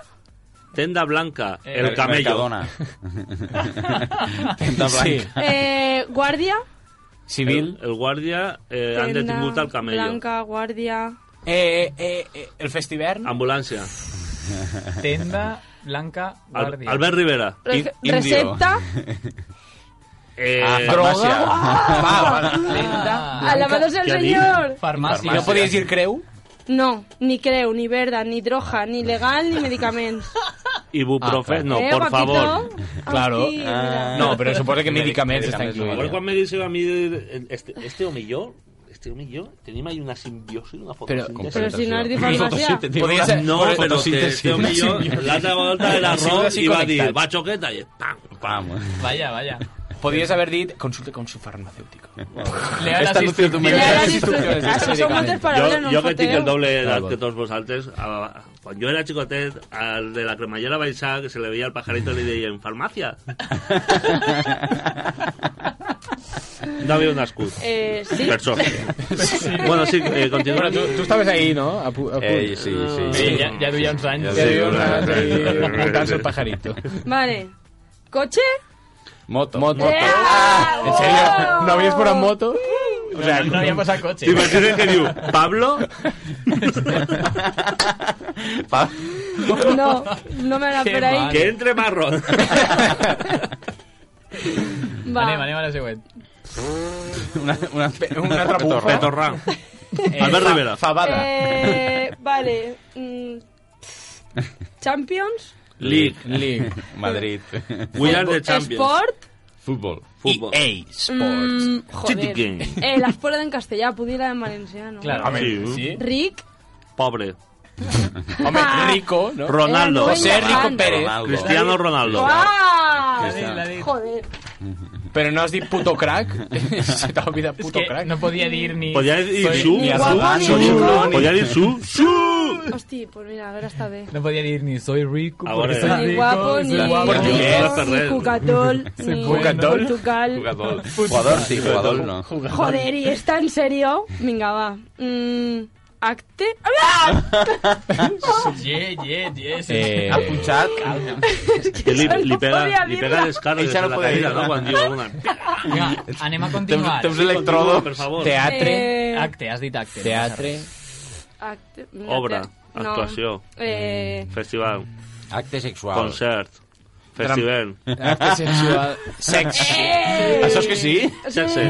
Tenda blanca,
Eh,
el camello.
Mercadona. Tenta
Sí.
blanca.
Eh, guàrdia?
Civil.
El, el guàrdia eh, han
Tenda,
detingut el camello.
Blanca, guàrdia...
Eh, eh, eh, el festivern.
Ambulància.
Tenda, Blanca,
Al,
Guàrdia.
Albert Rivera.
Re-
Indio.
Recepta?
Eh,
Ah,
farmàcia. Ah,
Va, va.
Tenda,
Alabados el
Què ha dit?
senyor.
farmàcia.
No podies dir creu?
No, ni creu, ni verda, ni droga, ni legal, ni medicaments.
Ah,
Ibuprofeno,
eh,
por
guapito?
favor.
Claro.
Aquí,
Ah.
mira.
No, però suposa que medicaments estan
medicaments,
Igual
incloïts.
quan me dice a mí eh, este, este home i jo, este home i jo, tenim ahí una simbiosi, una fotosíntesi.
Però si no has dit farmàcia.
Podria ser...
No,
Por-
però que
fotosíntesi.
este home i jo, l'altra volta era
Ha sigut
Ron
així
i va dir,
connectat.
va xoqueta i pam.
Pam.
Eh,
Vaya, vaya.
Podries haver dit consulte con su farmacéutico.
Le ha
Esta
assistit.
lució tu
Ja,
me-
ja,
Sí, sí,
ja,
sí,
ja,
sí,
ja, són moltes paraules,
Jo,
no
jo
em
que tinc el
foteu.
doble
Ah,
d'edat
bueno.
que tots vosaltres, a, quan jo era xicotet, al de la cremallera baixar, que se le veia el pajarito, li deien,
[LAUGHS]
farmàcia. No havia un escut.
Eh, sí,
Per sort. Bueno, sí, eh, continua.
Bueno, tu, tu estaves ahí, no? A, pu a punt.
Ei, sí, sí.
Sí, ja, ja duia uns anys.
Ja
Sí,
duia
una-
una-
ahí, apuntant-se el pajarito.
vale. Cotxe?
Moto.
Moto.
Eh,
¿En serio? ¿No habías por moto? O sea,
No, no havia passat cotxe.
T'imagines que diu, Pablo,
Pa-
No, no me la
Qué
per ahí.
mal.
que entre marrón.
Va.
Anem, anem a la següent.
Una, una, una Eh,
altra bufa.
[LAUGHS] Petorrán. Albert Rivera.
Fabada.
Eh, vale. Mm, Champions?
League.
League.
Madrid.
We are the champions.
Esport?
Fútbol.
Fútbol.
Eh,
EA Sports.
Mm,
City
joder.
Game.
Eh, la escuela en castellano, pudiera en valenciano.
Claro.
Hombre, Sí.
sí.
Rick. Ah.
Pobre.
Hombre, rico, ¿no?
Ronaldo.
Eh,
José Rico
Ronaldo.
Pérez.
Ronaldo.
Cristiano Ronaldo.
¡Guau!
Sí, la di.
Joder.
Pero no has dicho puto [LAUGHS] crack. Se te olvida
Es
puto
que
crack.
no ¿eh? podía ir ni...
Podía ir
soy-
su.
ni
su-
guapo, ni
su-
rico.
Podía ir su. Su.
Hostia, pues mira, a ver hasta B.
No podía ir ni soy rico,
Ahora ya.
porque soy
Ni
rico,
guapo,
soy
ni
guapo.
Por
ni
Dios,
guapo, ni
Ferrer.
Cucatol, ni
Cucatol.
Portugal.
Jugador. Jugador sí, jugador no.
Joder, ¿y está en serio? Venga, va. Mm, acte... ¡Ah!
Yeah, yeah, yeah, sí.
Eh,
[LAUGHS] Apunchad.
Que li,
Eso
li
no
pega,
podía
li
dir-la.
pega les cares
Això no
en la
podia
cadira,
dir-la.
no? Quan diu [LAUGHS] una...
Vinga, anem a
Temps,
continuar.
temps electrodo.
Per favor.
Teatre.
Eh,
Acte, has dit acte.
Teatre.
acte-
Obra,
No.
actuació.
Eh,
Festival.
Acte sexual.
Concert. Festival.
Acte sexual.
Sex.
eh,
Això és que sí?
Sexe.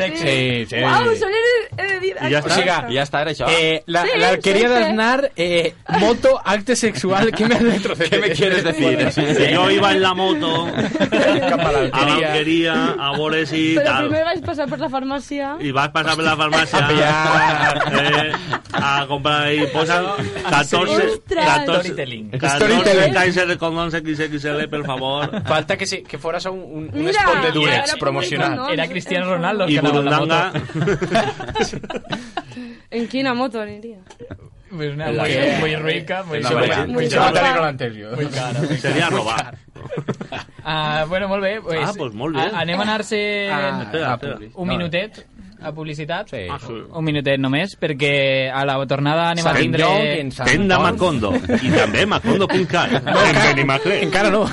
Sí, sí.
Uau, soler he dit...
I ja
O sigui, ja està, era
Ah.
això.
Eh, la,
Sí,
la quería
sí, sí.
Aznar, eh, moto, acte sexual, ¿qué me has
[LAUGHS] ¿Qué me quieres [LAUGHS] decir?
[LAUGHS] Que yo iba en la moto [LAUGHS] a la
Capalanquería.
banquería, a Bores y
Però primer
tal.
vaig passar per la farmàcia.
Y vas a pasar por la farmacia
pillar.
eh, a comprar pues, y posan 14,
Ostras.
14,
Storytelling.
14
Storytelling.
Kaiser con 11 XXL, por favor.
Falta que, se, que fueras a un, un, un
Mira,
spot de
ahora
Durex
publico,
promocional.
No,
Era Cristiano Ronaldo el
Y
que anava amb la
Burundanga,
moto.
En quina moto aniria?
Pues una
En la
muy,
calle.
muy rica, muy
En la
muy-
calle.
muy
Muy
cara.
guapa.
Muy cara.
sería robar.
Ah, bueno, molt bé. Pues,
Ah, pues molt bé.
a- Anem a anar-se
Espera, espera.
un minutet a publicitat. Sí.
Ah, sí.
Un minutet només, perquè a la tornada anem a tindre...
Tenda Macondo. Y también Macondo.cat. En Benimaclet.
Encara no.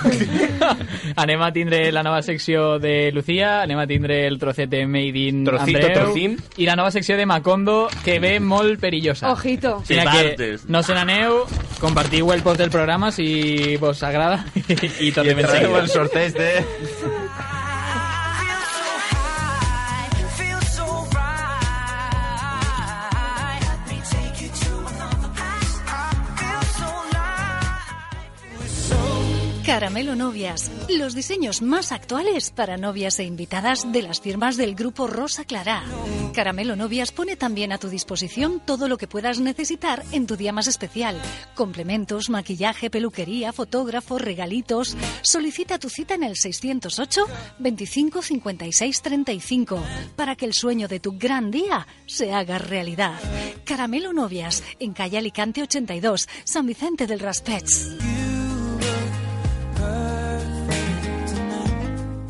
[LAUGHS] anem a tindre la nova secció de Lucía, anem a tindre el trocet de Made in
Trocito,
Andreu,
trocín.
i la nova secció de Macondo, que ve molt perillosa.
Ojito.
Sí.
Mira que
Partes.
no se n'aneu, compartiu el post del programa si vos agrada [LAUGHS] i tot de ben seguida.
el sorteig de...
[LAUGHS]
Caramelo Novias, los diseños más actuales para novias e invitadas de las firmas del grupo Rosa Clará. Caramelo Novias pone también a tu disposición todo lo que puedas necesitar en tu día más especial. Complementos, maquillaje, peluquería, fotógrafo, regalitos. Solicita tu cita en el 608 25 56 35 para que el sueño de tu gran día se haga realidad. Caramelo Novias, en calle Alicante 82, San Vicente del Raspech.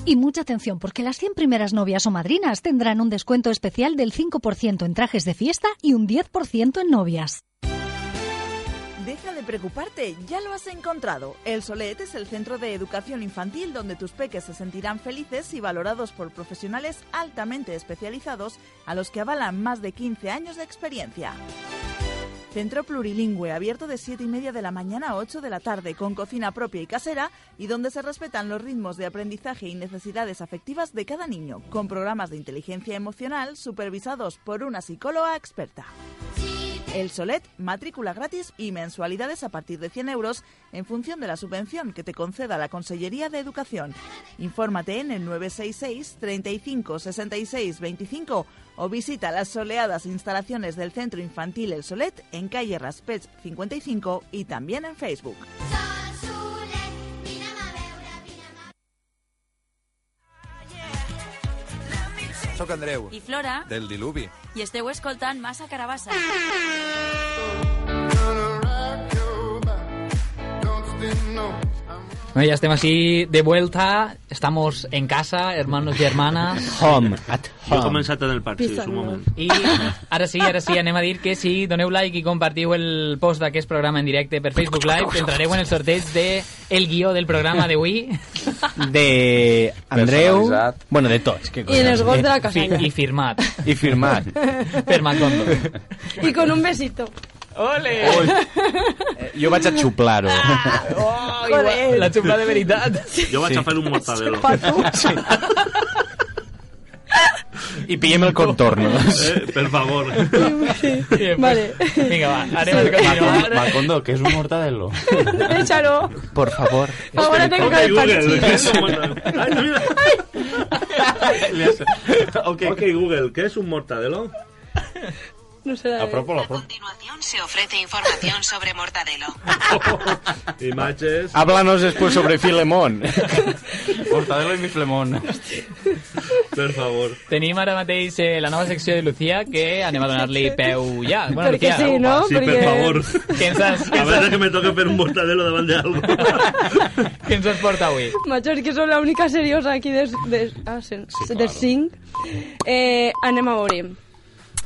Y mucha atención, porque las 100 primeras novias o madrinas tendrán un descuento especial del 5% en trajes de fiesta y un 10% en novias.
Deja de preocuparte, ya lo has encontrado. El Solet es el centro de educación infantil donde tus peques se sentirán felices y valorados por profesionales altamente especializados a los que avalan más de 15 años de experiencia. Centro plurilingüe abierto de 7 y media de la mañana a 8 de la tarde con cocina propia y casera y donde se respetan los ritmos de aprendizaje y necesidades afectivas de cada niño, con programas de inteligencia emocional supervisados por una psicóloga experta. El Solet, matrícula gratis y mensualidades a partir de 100 euros en función de la subvención que te conceda la Consellería de Educación. Infórmate en el 966 35 66 25 o visita las soleadas instalaciones del Centro Infantil El Solet en calle Raspech 55 y también en Facebook.
Soc Andreu,
Y Flora,
del Diluvi.
y este escoltant Masa Carabasa.
Bueno, ya estemos así de vuelta, estamos en casa, hermanos y hermanas.
Home, at
Yo
home.
comencé a tener el parche en su
Písalo.
momento.
I ara sí, ara sí, anem a dir que si doneu like i compartiu el post d'aquest programa en directe per Facebook Live, entrareu en el sorteig de el guió del programa d'avui
De Andreu...
Personalitzat.
Bueno, de tots. Que
I en els gols de la
fi
casalla.
i firmat
I firmat.
per Macondo.
I con un besito.
Ole!
Ui. Eh, Jo vaig a xuplar-ho.
Ah,
Oh, igual, la xupa de veritat.
Yo voy a chafar un
[LAUGHS]
mortadelo.
I pillem el
[LAUGHS]
contorno.
Eh, por favor.
Vale.
Vinga, va, anem a continuar.
Macondo, que és un mortadelo.
Échalo.
Por favor.
Ahora tengo el
Google,
parchís.
que es un mortadelo. Ay, mira. ok, Google, ¿qué es un mortadelo?
No sé.
A propos, a propos.
continuación se ofrece información sobre Mortadelo.
Ah.
Images.
Háblanos después sobre
[LAUGHS]
Filemón.
Mortadelo y mi flemón.
Per favor.
Tenim ara mateix eh, la nova secció de Lucía que anem a donar-li peu ja. Bueno,
Perquè
Lucía,
sí, no? Sí, per Perquè-
[LAUGHS]
favor.
[LAUGHS] Què ens has,
A
què ens has,
veure que me toca fer un mortadelo davant d'algo.
[LAUGHS]
què ens has portat avui?
Macho, és que som l'única seriosa aquí des, des, ah, sen, sí, des cinc. Eh, anem a veure.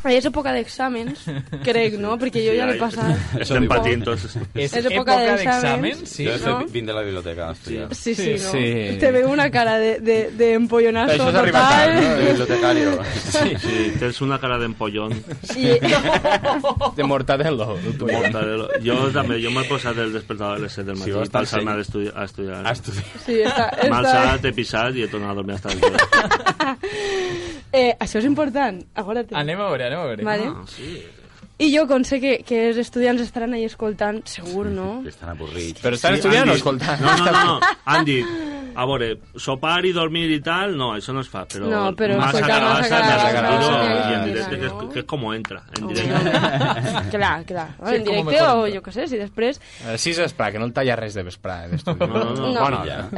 És època d'exàmens, crec, no? Perquè jo ja l'he passat.
[LAUGHS]
[LAUGHS]
Estem patint tots.
És època d'exàmens.
Yo estoy
No?
vin de la biblioteca a estudiar.
Sí, sí, no. Te veo una cara de, de, de empollonazo
Eso es
total.
arriba tarde, ¿no? De bibliotecario.
Sí, sí, tens una cara
[LAUGHS]
d'empollón.
De mortadelo.
Pues
Mortadelo. Jo també, jo m'he posat el despertador a les 7 del matí
Sí, vas
sí,
estar
per
seny.
anar a estudiar. A estudiar. A estudiar.
Sí, està,
M'he
està...
alçat, he pissat i he tornat a dormir hasta
[LAUGHS]
el dia.
Eh, això és important, acorda't.
Anem a veure, anem a veure.
Vale. Ah, I jo, com sé que, que els estudiants estaran ahí escoltant, segur, no?
[LAUGHS]
Estan avorrits.
Però estan estudiant o escoltant?
No, no, no, no. Han dit, a veure, sopar i dormir i tal, no, això no es fa, però...
No, però
massa
escoltar, massa
carabassa, massa
carabassa,
carabassa, i en
sí,
directe,
sí,
que,
no?
és, que és com entra, en
Home.
directe.
clar, clar.
Sí,
en
com
directe
mejor.
o jo què sé, si després...
Així és esplà, que no el talla res de vesprà. eh, d'estudi.
Ah,
No,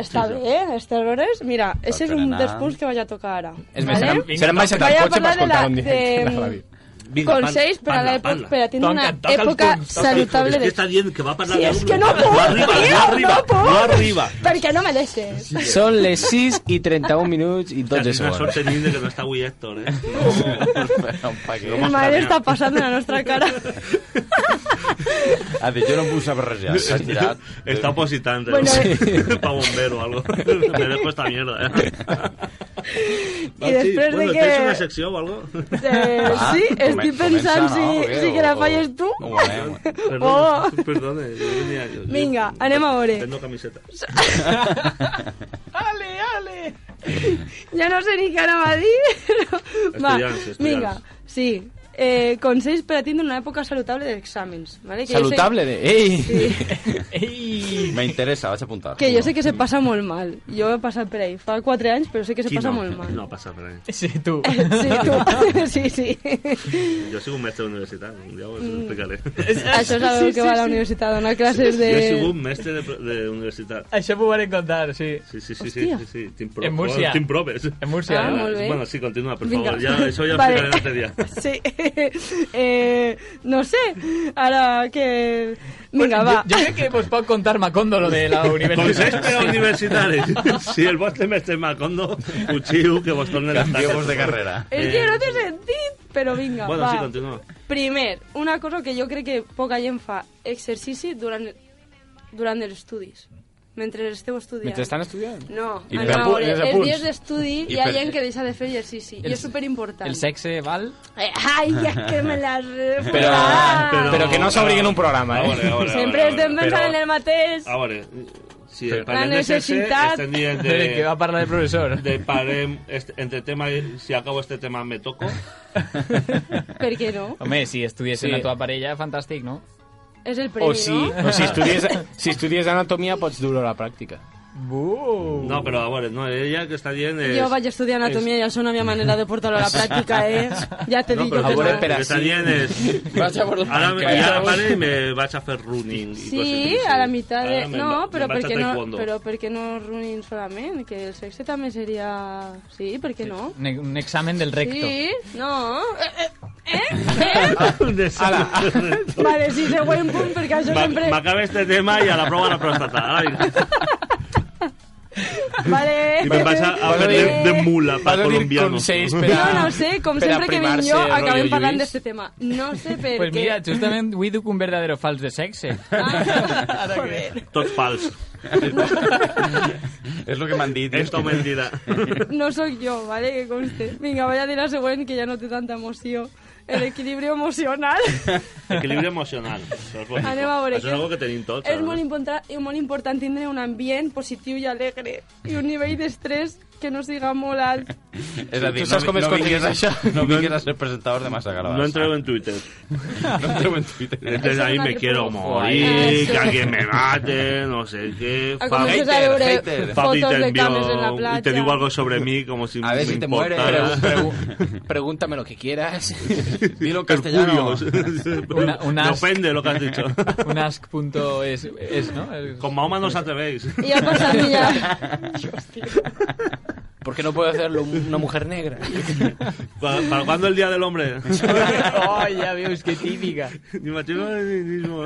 està bé, eh? Estes hores... Mira, això és un
anar.
dels punts que vaig a tocar ara.
És més, seran-
Vale?
seran baixat al
Vaig a
cotxe
parlar
per escoltar un
de la-
directe
de-
de mm, la vida.
Vinga, pan-
Consells per a
parla,
l'època-
parla.
per a tenir una
Toca el
època
punt, toca el punt.
saludable de-
És que està dient que va parlar
Sí,
de
és
un-
que no puc,
No arriba,
tio,
no arriba,
no puc.
no arriba.
Per què no me deixes?
Són les 6 i 31 minuts i
Clar,
12
Tens una
segons.
sort tenint de que no està avui Héctor, eh?
Mi madre està passant la nostra
[LAUGHS]
cara.
Ha dit, jo no em vull saber res ja.
[LAUGHS]
S'ha tirat.
Està opositant. eh?
Bueno,
eh.
[LAUGHS] Pa bombero o algo. Me dejo esta mierda, eh?
I després de
Ah, bueno,
que...
¿Tens una secció o [LAUGHS] algo?
Eh,
Va,
sí,
comen-
estic pensant
Ah, comença,
si,
no? Bé,
si que la
o-
falles tu.
Perdone,
Oh.
[LAUGHS] perdone. yo venía- yo- yo-
Vinga, anem a veure.
Tengo camiseta.
Ale, ale. Ja no sé ni què anava a dir, però... Va,
Estudiants, estudiants.
vinga, sí. Eh, consells per a tindre una època saludable d'exàmens. ¿vale? Que jo sé-
Saludable de... Ei!
Sí.
Me interessa, vaig a apuntar.
Que jo sé que se passa molt mal. Jo he passat per ahí fa 4 anys, però sé que se passa molt mal.
No pasa nada.
Sí, tu.
[LAUGHS] Sí, tu. [LAUGHS] sí, sí.
Yo soy un mestre universitario. Un día os
Mm. [LAUGHS]
explicaré.
Això sabeu que va a la universitat, a donar classes de...
Yo soy un mestre de, de universidad.
Això m'ho van contar, sí.
Sí, sí, sí, sí,
Hòstia.
sí, sí. Team Pro-
En Múrcia.
Team Probes.
En Múrcia, Ah, eh? molt bé.
Bueno, sí, continúa, por
Vinga.
favor. Ya,
[LAUGHS]
eso ya lo
Vale.
explicaré en otro día.
[LAUGHS] Sí. Eh, no sé, ara que... Vinga, va. [LAUGHS]
Jo, jo crec que vos pot contar Macondo lo de la universitat.
Consells per a universitaris. Si el vostre mestre Macondo, uchiu, que vos tornen les taxes.
Canvieu-vos de carrera.
És que no t'he sentit, però vinga,
Eh, Bueno,
va.
sí, continua.
Primer, una cosa que jo crec que poca gent fa, exercici durant, durant els estudis. Mentre esteu estudiant.
Mentre estan estudiant?
No,
I
I
per
anem a
apu-
veure.
els
Els
apunts.
dies d'estudi
I
hi ha
per-
gent que deixa de fer exercici.
eh, El-
I és superimportant.
[LAUGHS] El sexe val?
Eh, Ai, ja que me
[LAUGHS]
l'has...
Però, però, però que no s'obriguen un programa, eh?
veure, a veure,
Sempre estem pensant en el mateix.
A veure, si
Però-
parlem
La
de sexe,
necessitat.
estem dient este de...
Que va parlar el professor.
De parem, est- entre tema, i- si acabo este tema me toco.
Per què no?
Home, si estudies
Sí.
sí. la teva parella, fantàstic, no?
És el premi,
O si,
no?
o si, estudies,
[LAUGHS]
si estudies anatomia pots dur-ho a la pràctica.
No, però a veure, no, ella que està dient és...
Jo vaig estudiar anatomia i això no hi havia manera de
[LAUGHS]
portar-ho a la pràctica, eh? Ja te
No,
dic
però
jo que
que-
no.
que està dient és... [LAUGHS]
Vaig a por la
Ara,
banca.
ja pare, i me vaig a fer running. i coses així.
Sí, a la mitad de...
Ara me'n Ah, va-
no,
me'n
però
vaig a
perquè no,
taekwondo.
però perquè no running solament, que el sexe també seria... Sí, per què no?
Un, e- un examen del recto.
Sí, no... Eh,
[LAUGHS]
Ala.
eh, vale, sí, següent punt, perquè això
Ma-
sempre...
M'acaba este tema i a la prova de la pròstata. Ara vinc.
Vale...
I me'n vaig a, a fer de, de mula per colombiano.
Jo no sé, com
per a
sempre que vinc
primar-se,
jo,
rotllo
acabem parlant
Lluís.
d'este este tema. No sé per
Pues
què.
mira, justament avui duc un verdadero fals de sexe.
[LAUGHS]
Tots fals.
És el que m'han dit.
Esto mentida.
No sóc jo, vale, que conste. Vinga, vaig a dir la següent, que ja no té tanta emoció. El equilibri emocional.
Equilibri emocional. Això és bonic.
Anem a veure
Això és
què-
una que tenim tots.
És
ara.
molt, important, és molt important tindre un ambient positiu i alegre i un nivell d'estrès que nos diga molt alt.
És a dir,
Tu saps
no,
com
vi-
és
no
quan
vinguis,
digues això?
no vinguis a ser presentador de Massa Gravas.
No entrego en Twitter.
[LAUGHS] no entrego en Twitter.
Entonces ahí me quiero morir, que alguien me mate, no sé qué.
Ah,
Fa-
comienzas a ver fotos
Fabi
de
te envió-
cames en la playa.
y te digo algo sobre mí como si
A ver
me
si te mueres.
importara. [LAUGHS]
[LAUGHS]
Pregúntame lo que quieras.
Dilo en
castellano. [LAUGHS]
Una- un
Me
ask.
ofende lo que has dicho.
Un ask punto es, es, ¿no? Es-
Con Mahoma no os atrevéis.
[LAUGHS] Y ha pasado ya.
¿Por qué no puede hacerlo una mujer negra?
[LAUGHS] ¿Para, para cuándo el Día del Hombre?
oh,
[LAUGHS]
ya veo, es que típica.
Ni machismo ni
[LAUGHS]
mismo.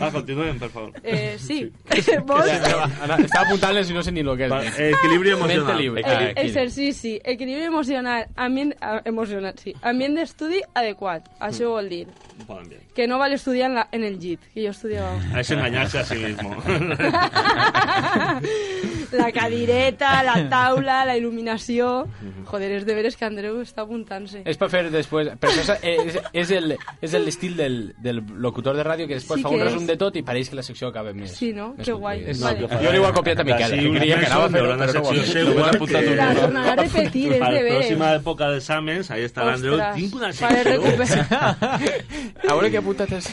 Ah, continúen, por favor.
Eh, sí. Eh,
O
[LAUGHS] Vols?
sea, Ana, Estaba apuntando si no sé ni lo que es.
Va, eh, equilibrio emocional.
Eh, Mente libre.
Equilibri-
eh,
Ah, equilibri-
Exercici, equilibri emocional, ambient, ah, emocional, sí. ambient d'estudi adequat,
Mm.
això vol dir.
Poden dir.
Que no val estudiar en, la, en el llit, que jo estudiava.
Es engañarse a sí mismo.
[LAUGHS] La cadireta, la taula, la il·luminació...
Mhm.
Joder, és de veres que Andreu està apuntant-se.
[LAUGHS] Es para hacer después. Pero eso es, es- es el, es el estilo del, del locutor de radio que después
Sí
fa un
que
resum
és.
de tot i pareix que la secció acaba més.
Sí, no? Que guai.
És-
Vale.
Jo l'he igual copiat a Miquel,
Casi
que
un
creia que
mes
anava a
hombre,
fer-ho,
habrán
però
hecho
no ho ha fet.
ese
Només ha
guante.
apuntat un
La tornarà a repetir, és de
Para la próxima
veres.
época de exámenes, ahí estará Andreu. Tinc una
vale,
secció.
recuperar.
A veure què ha apuntat és...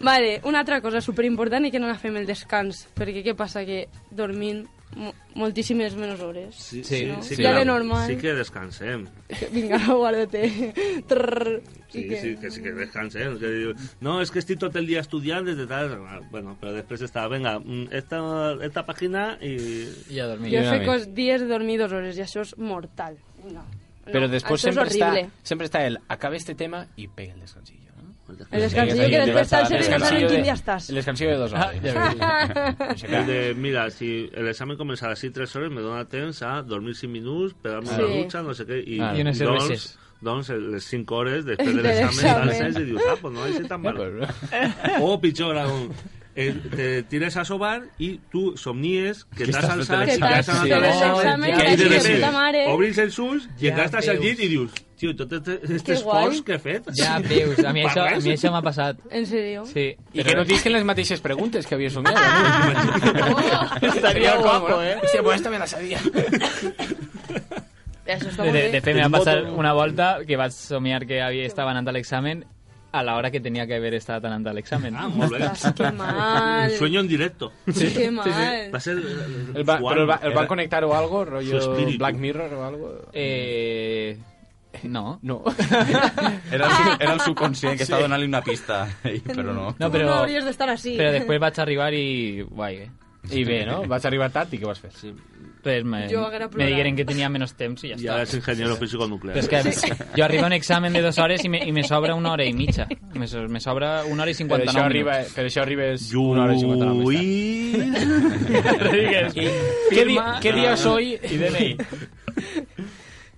Vale, una altra cosa superimportant i que no la fem el descans, perquè què passa? Que dormim mo- moltíssimes menys hores.
Sí,
no?
sí que-
ja de normal.
Sí que descansem.
[LAUGHS] Vinga, guarda-te. Trrr.
Sí,
I que-
sí, que sí que descansen. que digo, no, es que estoy todo el día estudiando desde tal. Ah, Bueno, pero después está, venga, mm, esta, esta página y.
Y a dormir.
Jo he fet dies de dormir dues hores i això és mortal. No.
Pero después
això és
siempre está,
Ah, horrible.
siempre está el acaba este tema y pega el descansillo. ¿no?
El descansillo Pues que después está el servicio de
descansillo
Valentín,
de-
ya estás.
El descansillo de dos
[LAUGHS]
horas.
El de, mira, si el examen comença a les 6 3 hores, me dona temps a dormir 5 minuts, pegar-me una
Sí.
dutxa, no sé què, i,
Ah, i unes
doncs,
cerveses.
doncs les 5 hores
[LAUGHS]
després
Del
de l'examen
examen.
alces i dius, ah, pues no vaig ser tan mal.
pues,
[LAUGHS] O pitjor aún, Oh, eh, te tires a sobar i tu somnies que t'has
estàs
alçat,
fent
que
l'examen.
t'has anat
Sí.
a
Oh,
l'examen,
ja.
i de
Ja,
repente
puta
mare.
obris els ulls i
Ja
encara estàs al
veus.
llit i dius, tio, tot este, este
Que guai.
esforç que he fet... [LAUGHS]
Ja veus, a mi,
per
això, a
res.
mi això m'ha passat.
En serio? [LAUGHS]
Sí.
Y que no te dicen las mateixes preguntas que había
[LAUGHS]
soñado. ¿no? Estaría guapo, ¿eh? Hostia, pues esta me la sabía.
Això està [LAUGHS]
De,
molt
de,
bé.
de fet, me va passar una volta que vaig somiar que havia estat anant a l'examen a l'hora que tenia que haver estat anant a l'examen.
Ah, molt bé.
Ostres, [LAUGHS] que mal.
Un sueño en directo.
Que mal.
Va a ser... eh,
El va,
Juan.
pero el va, el va a conectar o algo, rollo
Su espíritu.
Black Mirror o algo.
Eh... No.
No.
Era el, sub- era el subconscient que estava donant-li una pista, ell, però no.
No,
Tu no
però,
hauries d'estar així.
però després vaig arribar i... Guai, eh?
I bé, no? Vas arribar tard i què vas fer?
Sí.
Res, Pues me,
Jo haguera plorat.
me digueren que tenia menys temps i ja
Y
està.
ahora es ingeniero físico nuclear.
Però és que jo arribo a un examen de dues hores i me, i me sobra una hora i mitja. Me, so- me sobra una hora i
Però
59
això, arriba, eh.
minuts.
però això arriba és
Lluís.
una hora i 59 més tard. [LAUGHS]
[LAUGHS]
Rodríguez,
¿Qué, di-
firma-
¿Qué día soy? Y DNI.
[LAUGHS]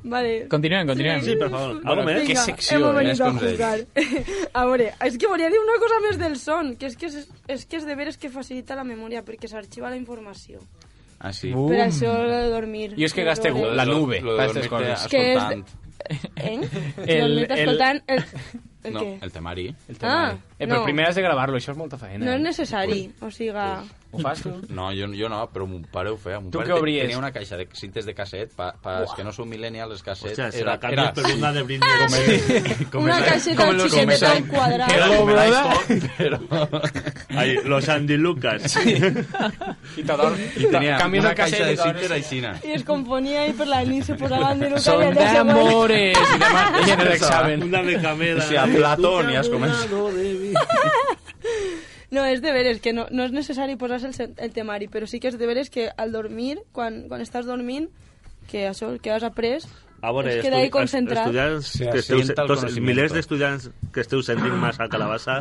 Vale.
Continuem, continuem.
Sí, por favor.
Bueno,
Algo més?
Qué
Vinga,
secció,
hemos
eh?
venido a
Es con
jugar. [LAUGHS] a veure, és que volia dir una cosa més del son, que és que és, és que és de veres que facilita la memòria, perquè s'arxiva la informació.
Ah, sí.
Uh,
Per això l'he de dormir.
Jo és que gaste
Lo de-
la nube,
Lo de
pa' estas
dormirte
coses.
Que és de-
escoltant.
Eh?
El-
El, el,
el-
escoltant... El, el
No,
què?
el temari.
El tema,
Ah,
eh. eh, però
no.
primer has de gravar-lo, això és molta feina.
No és
eh?
necessari, o siga...
Ho fas
[LAUGHS]
tu?
No, jo, jo no, però mon pare ho feia. Mon
Tu
pare
què
te-
obries?
Tenia una caixa de cintes de casset, pa, pa els que no són millennials, les casset...
Hòstia, se la canvies per una de Britney
Una caixeta
com
de
los-
xiqueta
com
al quadrat.
Era
Hello,
como me
brother.
dais pero...
Ahí, los Andy Lucas.
I t'ador...
I tenia
Canvies
una caixa
el casset
de
i t'ador-
cintes aixina.
I es componia i per la nit se posava en el
Son
cabell de
de
següent.
amores. I demà i en l'examen.
Una de camela.
O sea, Platón i has començat.
No, és de veres que no, no és necessari posar-se el, se- el temari, però sí que és de veres que al dormir, quan, quan estàs dormint, que això el que has après
A veure,
Ah, es queda ahí
Ah, estu-
concentrat.
estudiants
Se
que esteu,
asienta el
tots,
conocimiento.
milers d'estudiants que esteu sentint massa calabassa,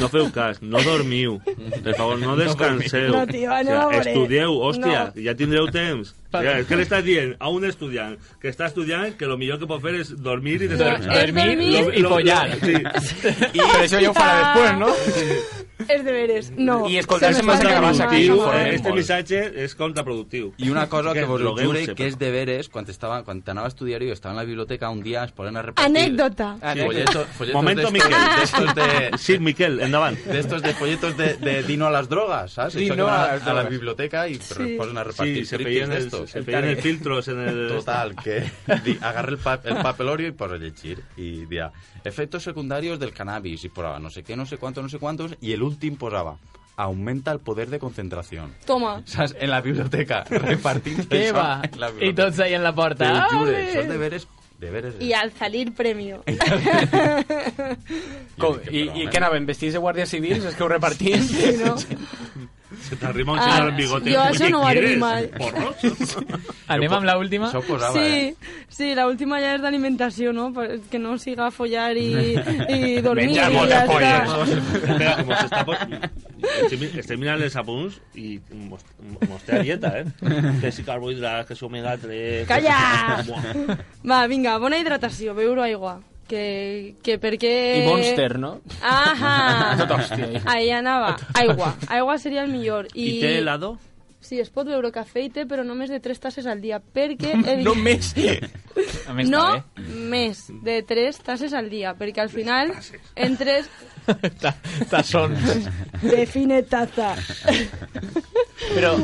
no feu cas, no dormiu, per favor, no descanseu.
No, tio, no, hombre.
estudieu, hòstia,
No.
ja tindreu temps. O sea, és que li estàs dient a un estudiant que està estudiant que lo millor que pot fer és dormir i descansar.
és dormir
Lo-
i
lo-
follar.
[LAUGHS]
Sí.
I per això jo ho faré després, no?
És de veres, no.
I escoltar-se
Se me
mentre
está
acabes
yendo
aquí,
mal.
joder.
Eh, Este
Molt.
missatge és contraproductiu.
Y una cosa que
Que
vos lo
blogueu
jure,
sempre.
que es de veres, cuando estaba, cuando anava a estudiar y yo estaba en la biblioteca un día, es ponen a repartir...
Anècdota.
Folletos, folletos
Momento,
de estos,
Miquel.
de estos
[LAUGHS]
de,
Sí, Miquel, endavant.
de estos de folletos de, de Dino a las drogas, ¿sabes? Eso
Dino
que van
a
a,
las
a la
drogas.
biblioteca y pues,
Sí.
ponen a
Sí,
repartir
se
triptis
pedían
de
el,
estos. Claro,
se feien els filtros en el...
Total, que [LAUGHS] di, agarra el, pa el papelorio y posa a llegir. Y dia, efectos secundarios del cannabis. Y posava no sé qué, no sé cuántos, no sé cuántos. Y el último posaba, aumenta el poder de concentración.
Toma.
¿Sabes? En la
[LAUGHS]
biblioteca, repartiendo
Què
això
va?
en la
I tots ahí en la porta.
Te ho
Ah!
jure,
Ole!
són deberes... deberes
Y al salir [LAUGHS] premio.
Com, I, i què anaven, vestits de guàrdies civils? És que ho repartien? Sí,
[LAUGHS] no?
Se t'arriba un
Ah,
senyor
sí.
amb bigote.
Jo
Oye,
això no ho
¿quieres
haré
[LAUGHS]
mai.
porros?
Anem amb l'última?
Això ho posava,
Sí, sí, la última ya es de alimentación, ¿no? Pa- Que no siga a follar [LAUGHS] y, y dormir.
Menjar
y
moltes
ya está.
polles. [LAUGHS] Espera, com s'està... po- Estem, estem mirant els apunts i mos- mos té la dieta, eh? Que si carbohidrats, que si omega-3... [LAUGHS]
Calla!
Buah.
Va, vinga, bona hidratació, beure aigua. Que, que perquè...
I Monster, no? [LAUGHS]
Ahà!
Tot hòstia, ahí.
Ahí anava. Aigua. Aigua seria el millor. I,
I té helado?
Sí, es pot beure cafè i té, però només de 3 tasses al dia, perquè...
[LAUGHS] No
[LAUGHS]
més.
A
més
no
està
més de 3 tasses al dia, perquè al final, en
[LAUGHS]
3...
Tassons.
Define taza.
Però...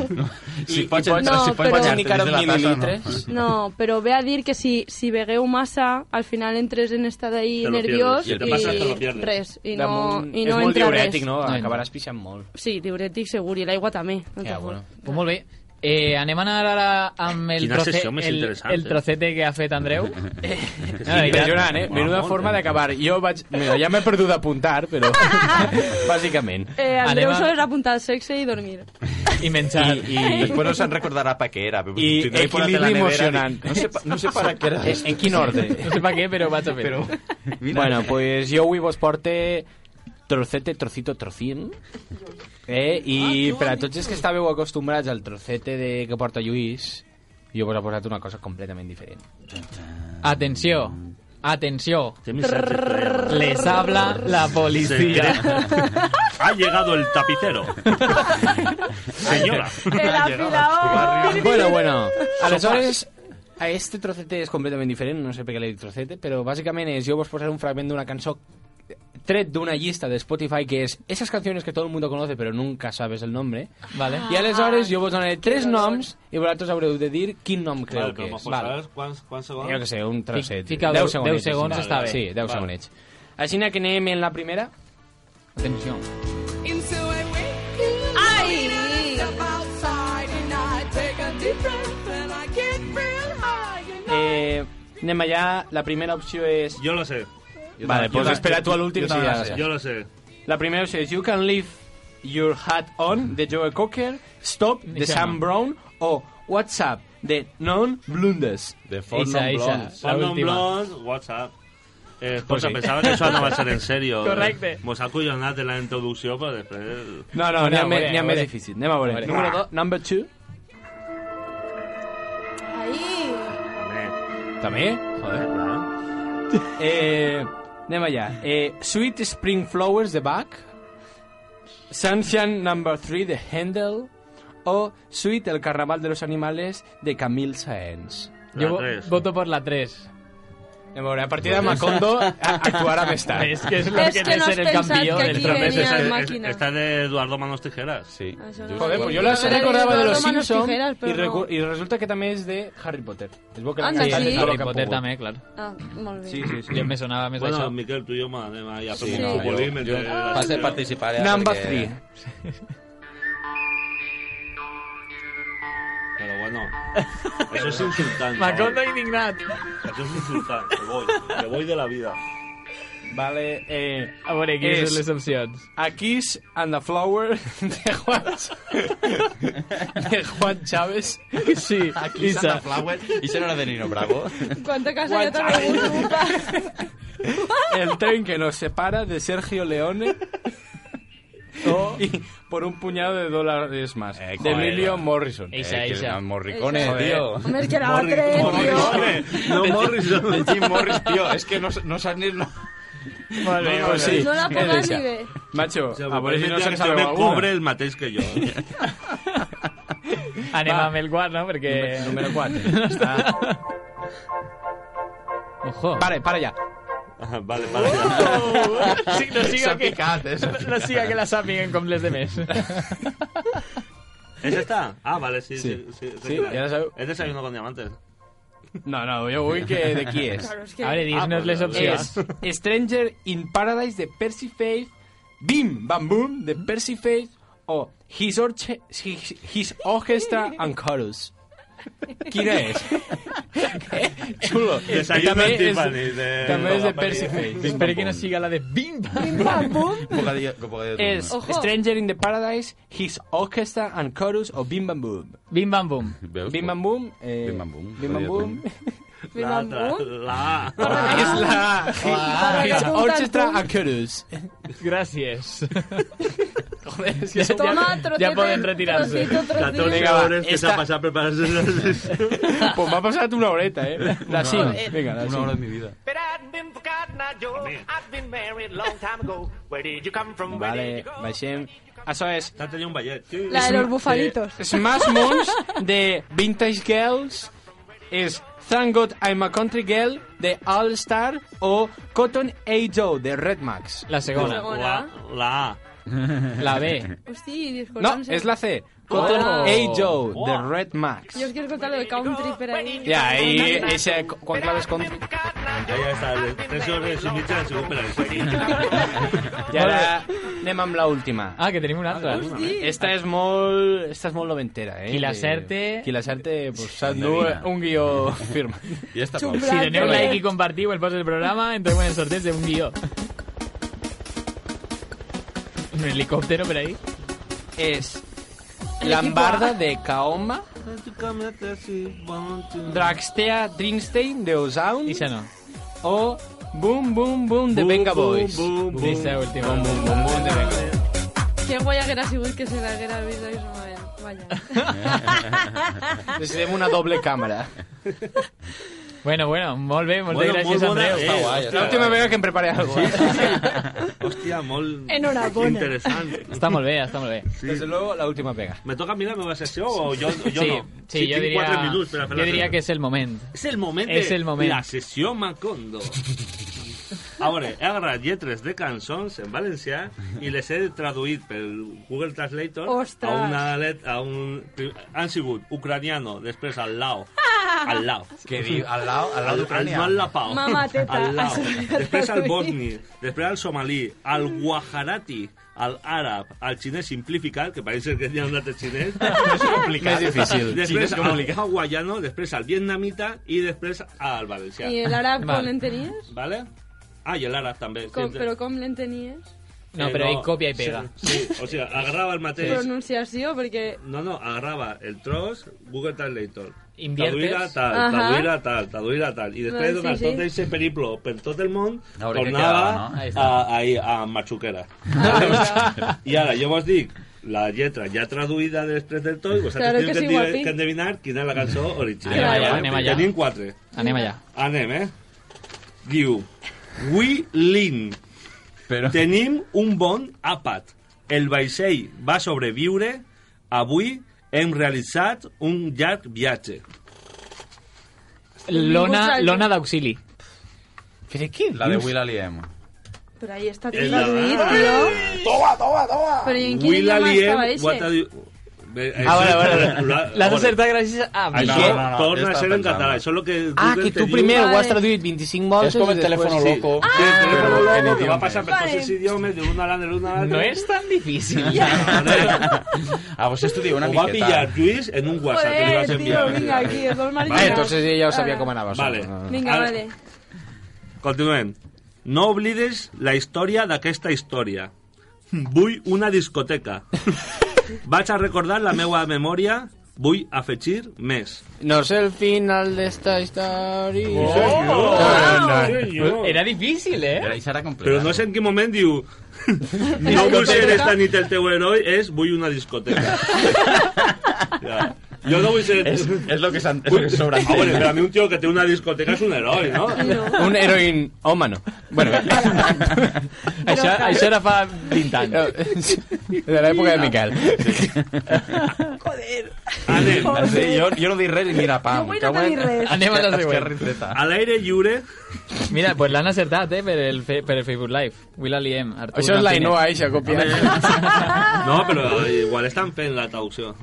Si
i-
pots
i
entrar- si
pots però- bañar-te
micar
dins de la taza, no.
mil·lilitres?
No, però ve a dir que si, si begueu massa, al final entres en estat ahí
Te lo
nerviós
pierdes. Si
i,
te passa, te lo pierdes.
res. I no,
Damunt-
i no
és molt
entra
diurètic,
res.
no? Acabaràs pixant molt.
Sí, diurètic segur, i l'aigua també. No
Ja,
te
bueno. Pues molt bé. Eh, anem a anar ara amb el,
Quina sessió més
el,
interessant,
el
eh?
trocete que ha fet
[LAUGHS]
Andreu.
Impressionant, eh? Menuda forma d'acabar. Jo vaig... Mira, ja m'he perdut d'apuntar, [LAUGHS] però... Bàsicament.
Eh, Andreu
Anem a-
sols apuntar el sexe i dormir.
I menjar.
I,
[LAUGHS]
i... després no se'n recordarà pa què era.
I
Tindré posat a la
equilibri
nevera,
emocionant.
dic, No sé, pa- no sé
[LAUGHS]
per què era.
Eh, En- en quin [LAUGHS] ordre?
No sé per què, però vaig a fer. Però...
Bueno, pues jo avui vos porte trocete, trocito, trocín. Eh? I per a tots els que estàveu acostumbrats al trocete de que porta Lluís, jo vos he posat una cosa completament diferent.
Atenció, atenció.
Este mensajes
Les habla la policía.
[LAUGHS] Ha llegado el tapicero. Señora.
Bueno, bueno. Aleshores, a este trocete és completament diferent, no sé per què l'he dit trocete, però bàsicament és jo vos posaré un fragment d'una cançó tret d'una llista de Spotify que és esas canciones que todo el mundo conoce però nunca sabes el nombre.
Vale.
I aleshores jo vos donaré tres noms i vosaltres haureu de dir quin nom creu
Vale,
que
però
és.
mos posaràs quants- quants segons?
Jo que sé, un trosset.
Fi- fica deu- deu segons
sí.
està bé.
Sí, 10
Vale.
segonets. Així que anem en la primera.
Atenció.
Ay.
Eh, anem allà. La primera opció és...
Jo la sé.
Vale,
Jo
pues
la-
espera tu a l'últim
jo
si
la
Ah,
ja la
sé.
saps.
Jo la sé.
La primera opció és You Can Leave Your Hat On, de Joe Cocker, Stop, de
Esa
Sam
no.
Brown, o What's Up, de Non Blundes.
De
Fort Non Blondes. Fort Non Blondes, WhatsApp. Eh,
Pues
escolta,
sí.
pensava que això anava a ser en eh. sèrio.
Correcte.
Mos ha collonat en la pues, introducció, però després...
No, no, n'hi ha, me- n'hi ha més difícil. Anem a veure. Número 2, number 2.
Ahí.
També? Joder. Eh, anem allà. Eh, Sweet Spring Flowers, de Bach. Sunshine Number 3, de Handel. O Sweet, El Carnaval de los Animales, de Camille Saenz.
Yo vo- voto por la 3.
A veure, a partir de
[LAUGHS]
Macondo a- actuarà més tard.
Es que es lo
Es que
que, debe
no
ser
has
el
pensado
campeón
que
del
aquí
trofeo.
venía el
Es-
máquina. Ah,
Está de Eduardo Manos Tijeras.
Sí.
Joder, pues yo la
Pero
recordaba de
Eduardo
los
Manos
Simpsons
Tijeras,
y,
pero no.
recu- y resulta que también es de Harry Potter. Es vos que
Anda,
la
sí.
Harry Potter también, claro.
Ah, molt bé.
Yo me sonaba, me
Bueno,
sonaba.
Miquel, tú y yo, madre mía, ya
Sí,
somos
no,
un futbolín.
jo- jo pasé a participar ja
[LAUGHS] Number
perquè-
three.
Pero bueno, eso es insultante.
Macondo
Eh,
¿no?
indignat.
Eso es insultante. Me voy, me voy de la vida.
Vale, eh,
A veure, quines són les opcions?
A Kiss and the Flower [LAUGHS] de Juan, de Juan Chávez. Sí,
Aquí Santa Flower. I això no era de Nino Bravo.
Quanta casa jo també
El tren que nos separa de Sergio Leone. O y por un puñado de dólares más. de
Eh, joder.
Emilio Morrison. Eh,
Eixa, Eh, que eixa. el Morricone,
Joder.
tío.
Hombre, que la otra,
Morricone.
No Morrison.
De Jim Morris, tío. Es que no, no saps ni... No.
Vale, pues sí.
No la
es
pongas
esa.
ni ve.
Macho,
Se
pues
a por eso no se
me
sabe
me
alguna.
cobre el matéis que yo.
Anem amb el guard, no? Perquè...
Número 4.
Ojo.
Vale, para ya.
[LAUGHS] Ah, vale, vale.
Oh, Sí, no siga
S'ha
que...
picat, eh? S'ha
[LAUGHS] No siga que la sàpiguen com les de més.
¿Es esta? Ah, vale, sí, sí.
Sí.
sí,
Sí, ya la sabeu.
Es desayuno con diamantes.
[LAUGHS] No, no, yo voy que de quién es.
Claro, es que- A ver, dinos les opciones.
Es Stranger in Paradise de Percy Faith, Bim Bam Boom de Percy Faith o His, Orche- His, His Orchestra and Chorus. ¿Quién es?
[LAUGHS]
Chulo.
Desayuno
També
en
és-
Tiffany, de-
també és de
Lola
Percy
Maria.
Faith.
Bim,
Espero
bam,
que no
bum.
siga la de Bim Bam
Bocadillo, bocadillo de
Es
turno.
Stranger in the Paradise, His Orchestra and Chorus o Bim Bam Boom. Bim Bam Boom.
Veus?
Bim Bam Boom. Eh, Bim Bam Boom. Bim Bam Boom.
La otra, la...
[LAUGHS] Es la
Ah.
His
Ah.
Orchestra and Chorus.
Gracias.
Joder, es
Ya-
Toma,
ya-
trocete,
ya pueden retirarse.
trocito, trocito.
14
Venga, va,
horas que se
esta-
ha pasado prepararse [LAUGHS] las...
Pues va a pasar una horeta, ¿eh? La sí. Venga, la
Una hora de mi vida.
Vale, baixem. Això és... Eh,
T'ha tenit un ballet.
La de los bufalitos.
Smash Mons de Vintage Girls. És Thank God I'm a Country Girl de All Star o Cotton A. Joe de Red Max.
La segona.
La, la A.
La B.
Hosti,
No,
disculpa'm.
és la C. Cotton
Oh.
A. Joe de Red Max.
Yo os quiero contar lo de country, pero ahí...
Ja, i eixa, cu- quan claves contra...
Ja, ja està. les Tres hores i mitja han sigut per això.
I ara anem amb l'última.
Ah, que tenim una altra.
Pues
Esta és molt... Esta és molt noventera, eh?
Qui l'acerte-
Qui l'acerte, pues, s'endú
S'endevina.
un guió [LAUGHS] firme.
Y esta
Chum.
pausa.
Si teneu like i compartiu el post del programa, entreu en el sorteig de un guió. Un helicóptero por ahí.
És Lambarda de Kaoma, Dragstea Drinstein de Ozaun
I això no.
o Boom Boom Boom de Venga Boys.
Boom, boom,
Aquesta última.
Boom Boom Boom Boom de Venga [LAUGHS] Boys.
Qué guaya que era Sigur que se la que era Luis Luis Manuel. Vaya.
Necessitem una doble [LAUGHS] càmera.
Bueno, bueno, molt bé, moltes
Bueno,
gràcies,
molt bona-
Andreu.
Eh,
Oh,
Está guay,
hostia.
está
L'última
guay.
vegada que em preparé
[LAUGHS]
alguna cosa.
Hòstia, molt...
Enhorabona.
Interessant.
Està molt bé, està molt bé.
Desde luego, [LAUGHS] la última pega.
¿Me toca a mí la nueva sesión o yo, yo
sí,
no?
sí,
Si
yo
tengo
diría,
cuatro minutos para hacer
yo
la
diría
sesión.
que es el momento.
Es el momento.
Es el moment.
La sesión Macondo. Ahora, he agarrat lletres de cançons en valencià i les he traduït pel Google Translator
Ostres.
a una let, a un... Han sigut ucraniano, després al
[LAUGHS]
lao. Al lao.
Que diu, al lado, al
Al, al, no
lado de Ucrania.
al lapao.
Mama teta,
Al lao.
això ja
Després al
traduït.
bosni, després al somalí, al guajarati, al àrab, al xinès simplificat, que pareix que hi ha un altre xinès, és complicat.
Més difícil.
Després
Xinès
al hawaiano, després al vietnamita i després al valencià.
¿Y el árabe
Vale.
con lentenies?
¿Vale? Ah, y el árabe también. Eh,
Con, pero con lentenies.
No, pero hay copia y pega.
Sí, sí, o sea, agarraba el mateix...
Pronunciació, perquè...
No, no, agarrava el tros, Google Translator.
Inviertes.
Traduir a tal,
Ajá.
traduir a tal, traduir a tal. I
Ah,
després
sí,
de donar
sí.
tot aquest periplo per tot el món,
A veure què
tornava
quedava, no? Ahí
a, ahí, a Machuquera.
Ah,
I ara, jo vos dic, la lletra ja traduïda després del tot, i vosaltres
Claro que sí,
teniu que, endevi-
guapi.
que endevinar quina és la cançó original.
Anem allà,
anem allà.
Tenim quatre.
Anem allá.
Anem, eh? Diu, We Lean.
Pero...
Tenim un bon àpat. El vaixell va sobreviure. Avui hem realitzat un llarg viatge.
Lona, lona d'auxili.
Però què
La de Will Aliem.
Però ahí està
És
traduït,
la-
tio. Però i en quin
Will
idioma
Aliem,
estava
what Eh, a
ese?
di- Bé,
Ah, vale,
això-
vale.
la-
L'has
a veure,
acertat gràcies [LAUGHS] a mi.
això
No, no, no,
eh, torna
jo
a ser
estava
en català.
pensant.
Això és lo que
Ah,
Google
que
te
tu
diu.
primer ho has
Vale.
traduït 25 voltes
És com
i
el
després
teléfono
sí.
loco.
Sí, el
Però en
teléfono loco, que va
idiomes.
passar per
Vale.
tots els idiomes d'un a l'altre, d'un a l'altre.
No és tan difícil.
A vos estudió pues una
Ho va
miqueta.
pillar Lluís en un WhatsApp que li vas
Joder, tio,
enviar.
vinga, aquí, es vol marinar.
Vale, entonces ella ja sabia com anava. això.
Vale.
Vinga,
Ara-
vale.
Continuem. No oblides la història d'aquesta història. Vull una discoteca. Vaig a recordar la meva memòria. Vull afegir més.
No sé el final d'esta història.
Oh,
Oh!
Era difícil, eh?
Era, esa era complicada.
Però no sé en quin moment diu... No vull ser esta nit el teu heroi, és vull una discoteca. Ja. Jo no vull ser...
Es, es lo que, san- es lo que sobra.
Ah, bueno, però a mi un tio que té una discoteca és un heroi, no?
Un heroïn hòmano. Bueno,
Això, això era fa 20 anys.
de l'època de Miquel.
Anem.
Sí, yo, yo no di res y mira, pam.
No vull anar a dir res.
Anem a la següent.
Arrinceta.
A l'aire lliure...
Mira, pues l'han acertat, eh, per el, fe, per el Facebook Live. Will Aliem, Artur
Això és la
Martínez.
Inoa, eixa, copiant.
No, però igual estan fent la traducció.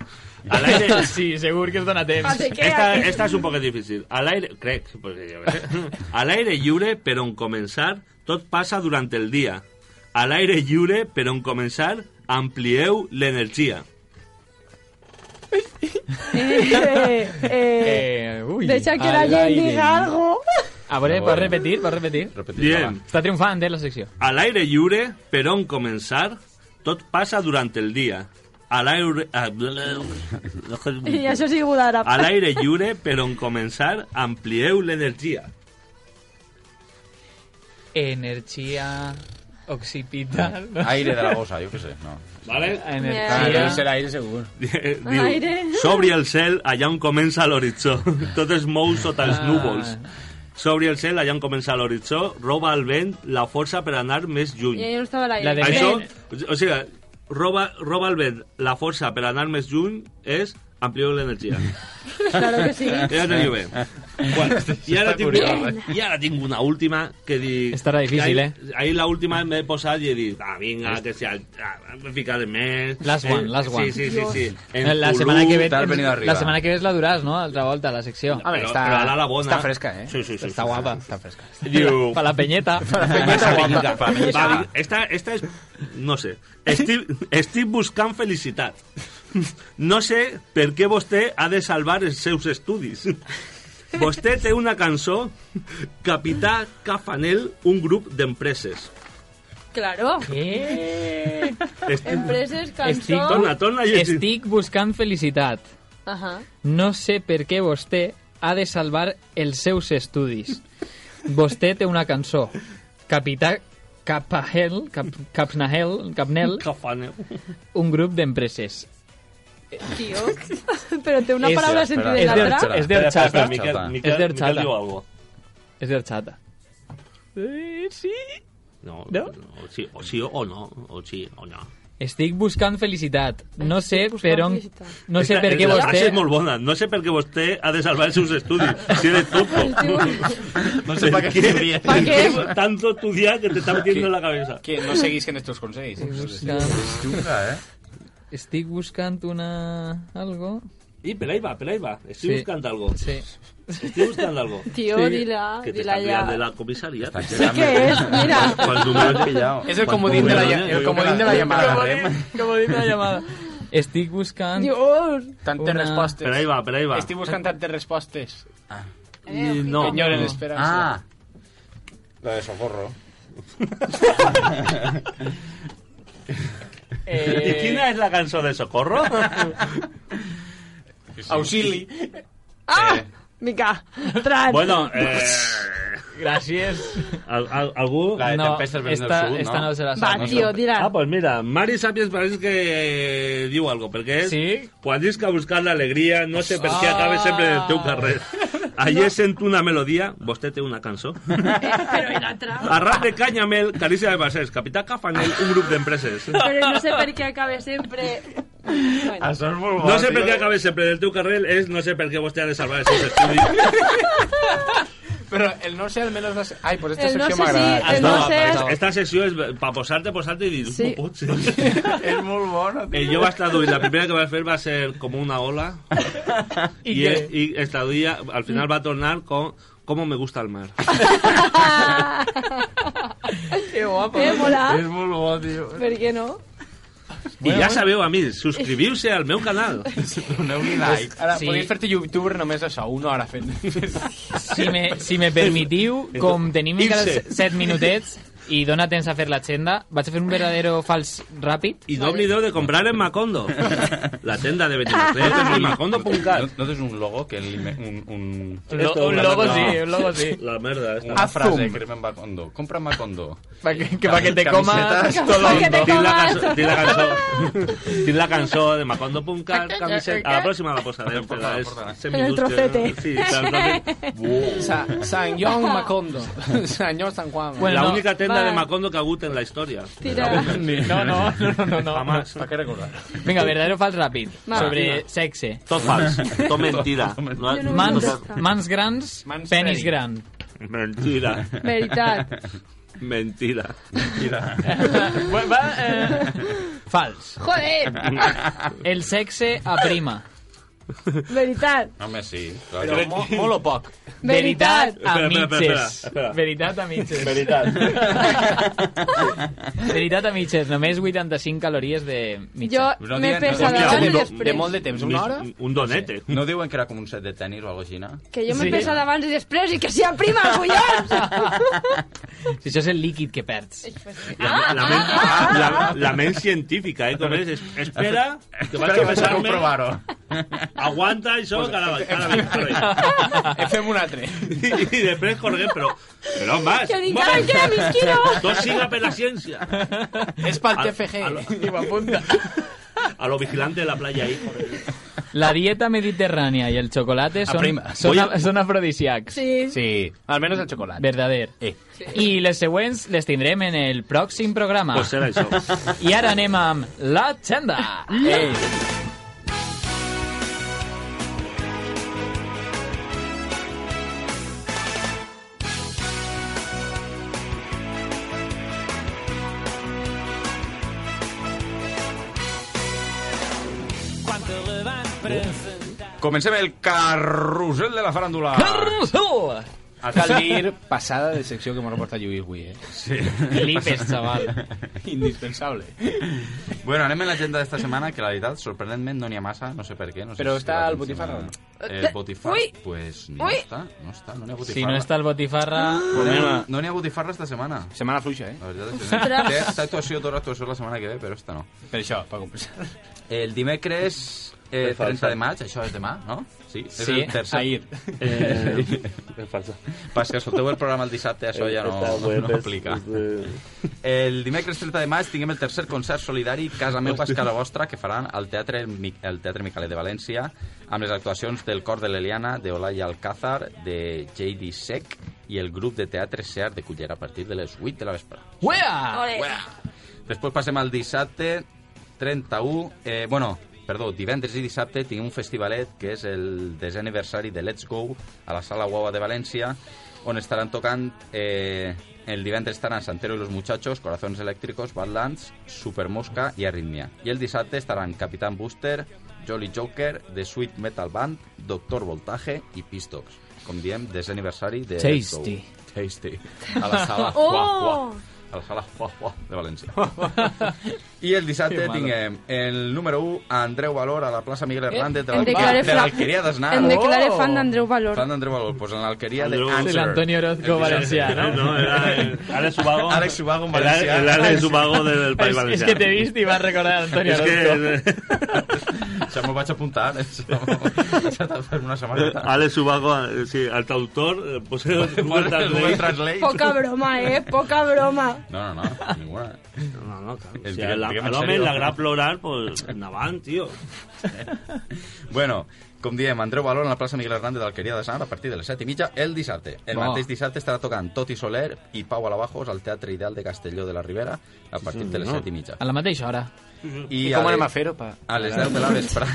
Al
[LAUGHS]
aire.
sí, segur que es dona temps.
Ah, de què?
Esta,
Aquest-
esta és un poquet difícil. A l'aire... Crec, perquè jo què sé. A l'aire lliure, però en començar, tot passa durant el dia. A l'aire lliure, però en començar, amplieu l'energia.
Eh,
Eh, ui.
Deixa que la
Al
gent
aire.
diga algo.
A veure,
Bueno.
pots repetir, pots repetir.
Bien.
Està triomfant, eh, la secció.
A l'aire lliure, però en començar, tot passa durant el dia. ah, A l'aire... a-
I això sí que ho darà.
A l'aire lliure, però en començar, amplieu l'energia.
Energia occipital.
Aire de la bosa, yo qué sé. No.
Vale?
Energia.
Ah, deu ser aire segur.
Diu,
Aire.
s'obri el cel allà on comença l'horitzó. [LAUGHS] Tot es mou sota els
Ah.
núvols. S'obri el cel allà on comença l'horitzó, roba al vent la força per anar més
I
lluny.
ahí no estava l'aire.
La Eh, de
Això,
vent.
o sigui, roba, roba al vent la força per anar més lluny és ampliar l'energia.
Claro que sí.
Ja teniu bé. Bueno, i, ara tinc, I ara tinc una última que dic...
Estarà
ahir,
difícil,
eh? Ahir l'última m'he posat i he dit, ah, vinga, que si... Ah, em ficaré més... Eh,
Last one, last one.
Sí, sí, sí. sí. En
La
Purú,
setmana que ve,
t'has venido arriba.
la setmana que ve és la duràs, no? Altra volta, la secció.
A ver, Pero- está- pero a la la bona.
está fresca, ¿eh?
Sí, sí, sí,
Está
sí,
guapa.
sí,
Está fresca.
[LAUGHS] Diu...
[LAUGHS] Para la
[LAUGHS]
peñeta.
Ah.
Va, esta, esta es... No sé. Estic, estic buscant felicitat. No sé per què vostè ha de salvar els seus estudis. Vostè té una cançó, Capità Cafanel, un grup d'empreses.
Claro.
[LAUGHS] Eh,
Estic...
Empreses,
Estic,
cançó...
Torna, torna i estic-
estic buscant felicitat.
Ajá.
No sé per què vostè ha de salvar els seus estudis. Vostè té una cançó. Capità Capahel, Cap, Capnahel, Capnel,
Cafanel.
un grup d'empreses.
[LAUGHS] Tío. Però té una
És-
paraula
espera,
sentit de
És
l'altra.
d'horcha- és d'orxata.
Miquel,
horchata.
Miquel,
Es de horchata.
Miquel diu algo.
És d'orxata. Eh, Sí?
No,
No?
O, sí, o sí o no, o sí o no.
Estic buscant felicitat. No sé
Estic buscant
per on...
felicitat.
No sé per què
la frase
vostè...
és molt bona. No sé per què vostè ha de salvar els seus estudis. Si eres tonto.
No sé para qué se ríe.
¿Para qué?
Tanto estudiar que te está metiendo en la cabeza.
Que no seguís en nuestros consejos.
Buscant-
Chunga, ¿eh?
Estic buscant una... algo...
Y pero ahí va, pero ahí va. Estoy
Sí.
buscando algo.
Sí.
Estoy buscando algo.
[LAUGHS] Tío, dila,
Que te
dila ya.
están pillando de la comisaría.
Sí que es, [LAUGHS]
[LAUGHS]
mira.
Cuando me has pillado.
Es el comodín de la, ll- el comodín de la llamada. ¿eh?
Como dice la llamada. Estic buscant...
Dios.
Tantes
Una-
respuestas.
Pero ahí va, pero ahí va.
Estoy buscando tantes respuestas.
Eh,
Y no.
Señor, en esperanza.
Ah. Lo de socorro.
Eh,
¿Y quién es la canción de
[LAUGHS]
socorro?
Auxili.
Ah! Mica. Tran.
bueno, eh,
Gràcies.
al- al- algú...
La de
No,
Tempestes ven del
esta-
Sud, ¿no?
esta no se la
Va,
sap.
tío,
Ah,
dila.
pues mira, Mari Sapiens parece que eh, diu algo, perquè és
Sí?
quan dius que buscar l'alegria, no sé per què acabes sempre en el teu carrer. Ayer sento una melodia, vostè té una cançó.
Però i l'altra.
Arran de Canyamel, Carícia de Basés, Capità Cafanel, un grup d'empreses.
Però no sé per què acabe sempre... Bueno.
Eso es muy guapo,
No sé per
tío.
què acabes sempre en el teu carrer, és no sé per què vostè ha de salvar els seus estudis.
Pero el no sé al menos... no sé- Ay, pues esta
El no
sección
sé
me agrada.
si- el no sé-
Esta sessió és pa posar-te, posar-te "Oh, i dir...
Sí.
"No pot ser".
Es muy bueno,
Eh, jo vaig traduir, la primera que vaig fer va ser com una ola i, i, i es traduïa, al final va tornar com com me gusta el mar.
Que guapo.
Eh, mola.
Es muy guapo, tío.
Per què no?
I ja sabeu, a mi, subscriviu-se al meu canal.
No me like.
Ahora,
Sí.
podéis hacerte youtuber només això, una hora fent.
Si me, si me permitiu, com tenim encara
Irse.
7 minutets i dona temps a fer l'agenda, vaig a fer un verdadero fals ràpid.
I no oblideu de comprar en Macondo. La tenda de Benimaclet en
¿No,
macondo.cat.
no tens un logo que lime, un, un,
Lo,
Esto,
un
la
logo
[LAUGHS]
verdad.
sí, un logo sí.
La merda esta.
una
Haz
frase
zoom.
que rima en Macondo? Compra Macondo.
Pa que, que, pa que te
Camisetas,
comas todo
Pa que te
lo
Tinc la,
comas.
cançó, tinc la cançó, [LAUGHS] tinc la cançó de Macondo.cat, camiseta. A la pròxima la posarem, però és
En
100
el
minuts. que-
trocete.
Sí, tant,
Sa, San John
[LAUGHS]
Macondo. San John San Juan.
[LAUGHS] Bueno,
La
no,
única tenda
va.
de Macondo que ha hagut en la història.
[LAUGHS] Tira.
[LAUGHS]
No, no, no, no, no. no.
Jamás.
¿Para qué recordar?
Vinga, verdadero fals ràpid.
Va.
Sobre sexe.
Tot fals, tot mentida. No,
Jo no vull
Mans,
contestar.
mans grans,
Mans
penis
freni.
gran.
Mentira,
Veritat.
mentira. [LAUGHS]
Va, eh... Fals.
Joder.
El sexe aprima.
Veritat.
Home, sí.
Però mo- molt o poc.
Veritat.
Veritat a
Espera, espera, espera,
mitges.
espera.
Veritat a mitges.
Veritat.
Veritat a mitges. Només 85 calories de mitja.
Jo No me diguen- pesa no, davant hòstia, i de- després. de molt de
temps,
una hora?
Un donete. No diuen que era com un set de tenis o alguna cosa així, no?
Que jo me pesa davant i després i que sia
[LAUGHS]
prima, collons!
Si això és el líquid que perds.
pues
La, la, ment, la, la ment científica, eh? Com és? Es- Espera, que vaig
Espera
a
que vaig a
pesar-me.
comprovar-ho.
Aguanta això, que ara vaig. Ara vaig.
Fem un
[LAUGHS]
altre.
I, I després correm, però... Però más.
Que dic, ara em queda mis
[LAUGHS]
quilos.
Tot siga per la ciència.
És pel
A-
TFG.
a lo-
[LAUGHS]
I m'apunta.
A lo vigilante de la playa ahí.
La dieta mediterránea y el chocolate son,
Aprima.
son,
Voy
a- son afrodisíacs.
Sí.
Sí, almenys el xocolata.
Verdader.
Eh.
I les següents les tindrem en el pròxim programa.
Pues serà això.
eh.
I ara anem amb l'agenda. Ei.
Comencem el carrusel de la faràndula.
Carrusel!
Cal dir passada de secció que m'ha reportat Lluís avui, eh?
Sí.
Flipes, chaval. Indispensable.
Bueno, anem en l'agenda d'esta setmana, que la veritat, sorprenentment, no n'hi ha massa, no sé per què. No sé
Però
si
està
la
el
gent se
botifarra.
n'ha- El botifarra,
Ui!
pues no
Ui!
està, no està, no n'hi ha botifarra.
Si no està el botifarra...
No n'hi ha- no n'hi ha botifarra esta setmana.
Setmana fluixa, eh?
La veritat és que
Ostres.
no. Té- Té actuació, tota actuació la setmana que ve, però esta no.
Per això, per compensar.
El dimecres eh,
Per
30
falsa.
de maig, això és demà, no? Sí, és
Sí,
el tercer.
ahir.
Eh,
[LAUGHS] és falsa.
Pas que escolteu el programa el dissabte, això ja no,
Esta web
no
és-
aplica.
és de-
El dimecres 30 de maig tinguem el tercer concert solidari Casa Meu Pas Casa Vostra que faran al Teatre, Mi- al Teatre Micalet de València amb les actuacions del Cor de l'Eliana, de Olaya Alcázar, de J.D. Sec i el grup de teatre SEAR de Cullera a partir de les 8 de la vespre.
Uea!
Després passem al dissabte 31... Eh, bueno, perdó, divendres i dissabte tinc un festivalet que és el desè aniversari de Let's Go a la Sala Guava de València on estaran tocant... Eh, el divendres estaran Santero y los Muchachos, Corazones Eléctricos, Badlands, Supermosca i Arritmia. I el dissabte estaran Capitán Booster, Jolly Joker, The Sweet Metal Band, Doctor Voltaje i Pistox. Com diem, desè aniversari de Let's Go.
Tasty.
Tasty. A la sala.
Oh!
Guau, guau al Sala Juá, Juá de València. I el
Que
dissabte
malo.
tinguem el número 1, Andreu Valor, a la plaça Miguel Hernández de
em
l'Alqueria
declaré
de
fla-
l'Alqueria d'Aznar.
Em declaré
Oh.
fan d'Andreu Valor.
Fan d'Andreu Valor, pues en l'Alqueria de
Andreu-
Answer.
Sí, l'Antonio Orozco
El dissabte.
valencià,
[LAUGHS]
no? [LAUGHS] No, era el Àlex Ubago.
Àlex Ubago en
El
valencià.
Ale- el Àlex Ubago del País
És-
Valencià.
És que t'he vist i vas recordar Antonio
És que-
Orozco.
Això m'ho vaig apuntar. eh, Això m'ho vaig fer una
[LAUGHS]
setmaneta.
Alex Ubago, eh, sí, el traductor, eh,
[LAUGHS]
pues, [LAUGHS] Google
Google Translate.
Poca broma, eh? Poca broma.
No, no, no, ninguna. No, no, clar.
O sea, la- a l'home la gran plural, pues, endavant, tio.
Bueno, com diem, Andreu Valor en la plaça Miguel Hernández d'Alqueria de Sant a partir de les 7 i mitja el dissabte. El
Va.
mateix dissabte estarà tocant Toti Soler i Pau Alabajos al Teatre Ideal de Castelló de la Ribera a partir de les
senyor.
7 i mitja.
A la mateixa hora.
I,
com
les-
anem a fer-ho? Pa...
A les 10 de la vespre...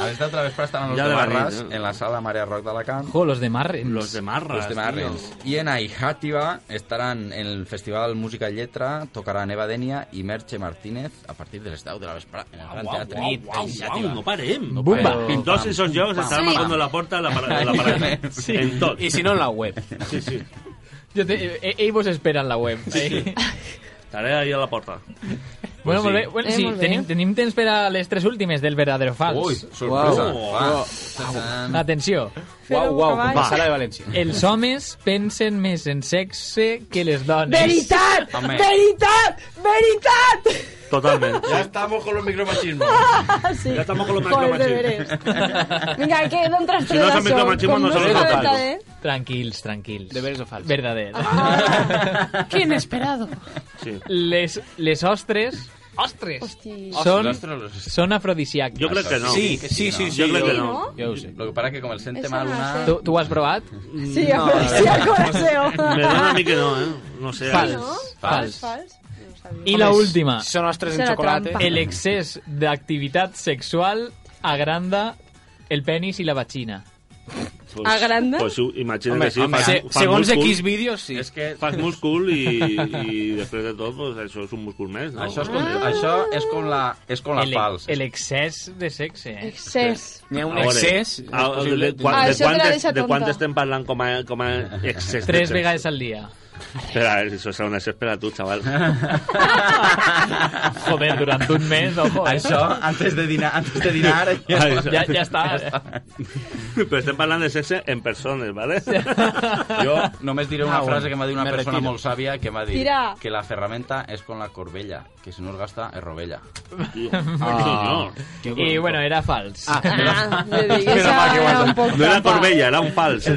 A les 10 de la vespre estaran los
Ja
de
de la
Marras
nit, eh?
en la sala Marea Rock d'Alacant.
Jo, los de Marrens.
Los de Marras,
Los de Marrens. I en Aijátiva estaran en el Festival Música i Lletra, tocaran Eva Denia i Merche Martínez a partir de les 10 de la vespre en el Gran
Uau,
Teatre.
uau, uau,
Aijátiva.
uau, no parem.
No
Bumba.
parem.
En tots esos llocs
Pam,
estaran
pam.
marcando la porta a la para-
[LAUGHS]
a la pared.
Sí.
En tots.
I si no, en la web.
Sí, sí.
Jo te, eh, ells vos esperen la web. Eh?
Estaré ahí a la porta. Pues
Bueno, molt
sí.
bé. Bueno,
Eh,
sí,
molt bé.
tenim, tenim temps per a les tres últimes del verdadero o fals.
Ui, sorpresa. Va. Tadam.
Atenció.
Uau, uau, com la sala de València.
Els homes pensen més en sexe que les dones.
Veritat! Veritat! Veritat!
Totalment.
Ya estamos con los micromachismos.
Ah, sí.
Ya estamos con los
Joder,
micromachismos.
de veres. Vinga, que d'on tres
Si no
tredas
son micromachismos,
con
no son
música
los
de
totales.
tal, eh?
Tranquils, tranquils. De
veres o fals? Ah.
Verdader.
Qué inesperado.
Sí.
Les, les ostres Ostres! són, són afrodisíacs.
Jo crec que no.
Sí, sí, sí, sí,
jo crec que
jo-
no.
Jo ho sé.
Lo que pasa es que como el sente
Eso
mal
no
una...
Tu, tu ho has provat?
Sí, No, afrodisíac, la verdad. deseo.
Me dona a mí que no, ¿eh? No sé.
Fals.
Fals.
Fals.
Fals.
I la
Ah.
última.
Són ostres en xocolata.
El excés d'activitat sexual agranda el penis i la vagina.
Pues,
Agranda?
Pues u- imagina't
Home,
que sí.
home,
fas-
se-
fas
segons
múscul.
X vídeos, sí.
És que-
Fas múscul i, i després de tot, pues, això és un múscul més, no?
Això és com, això és com la, és com la
El- e-
fals.
El excés de sexe. eh?
Excés.
N'hi ha un
A veure,
excés,
a-
és
a-
possible.
de, quan,
Ah,
de,
això te la
quant,
deixa
de, de
tonta.
quant estem parlant com a, com a excés? de
Tres
sexe?
vegades al dia.
Espera, això serà una espera tu, xaval. [LAUGHS]
Joder, durant un mes, ojo, eh?
Això, antes de dinar, antes de
[LAUGHS]
dinar...
Ah, això.
Ja, ja està. eh?
Però estem parlant de sexe en persones, [LAUGHS] ¿vale?
Jo només diré una
Ah, bueno,
frase que m'ha dit una
me
persona
retiro.
molt sàvia que m'ha dit
Tira.
que la ferramenta és con la corbella, que si no es gasta es rovella.
Ah. I bueno, era fals.
Ah. Ah,
Pero-
jo dic,
Pero
esa
va, que
era
guapo.
un poc No era trampa. corbella,
era un fals.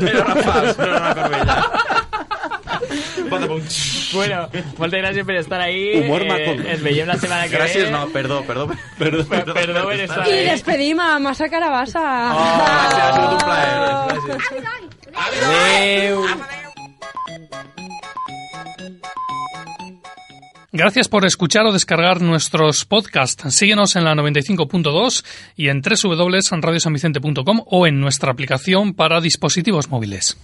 Bueno, moltes gràcies per estar ahí.
Humor
eh,
macón.
Ens veiem la setmana que
Gràcies,
ve.
no, perdó, perdó. Perdó, perdó,
perdó per estar
I despedim a Massa Carabassa.
Adeu. Gracias por escuchar o descargar nuestros podcasts. Síguenos en la 95.2 y en www.radiosanvicente.com o en nuestra aplicación para dispositivos móviles.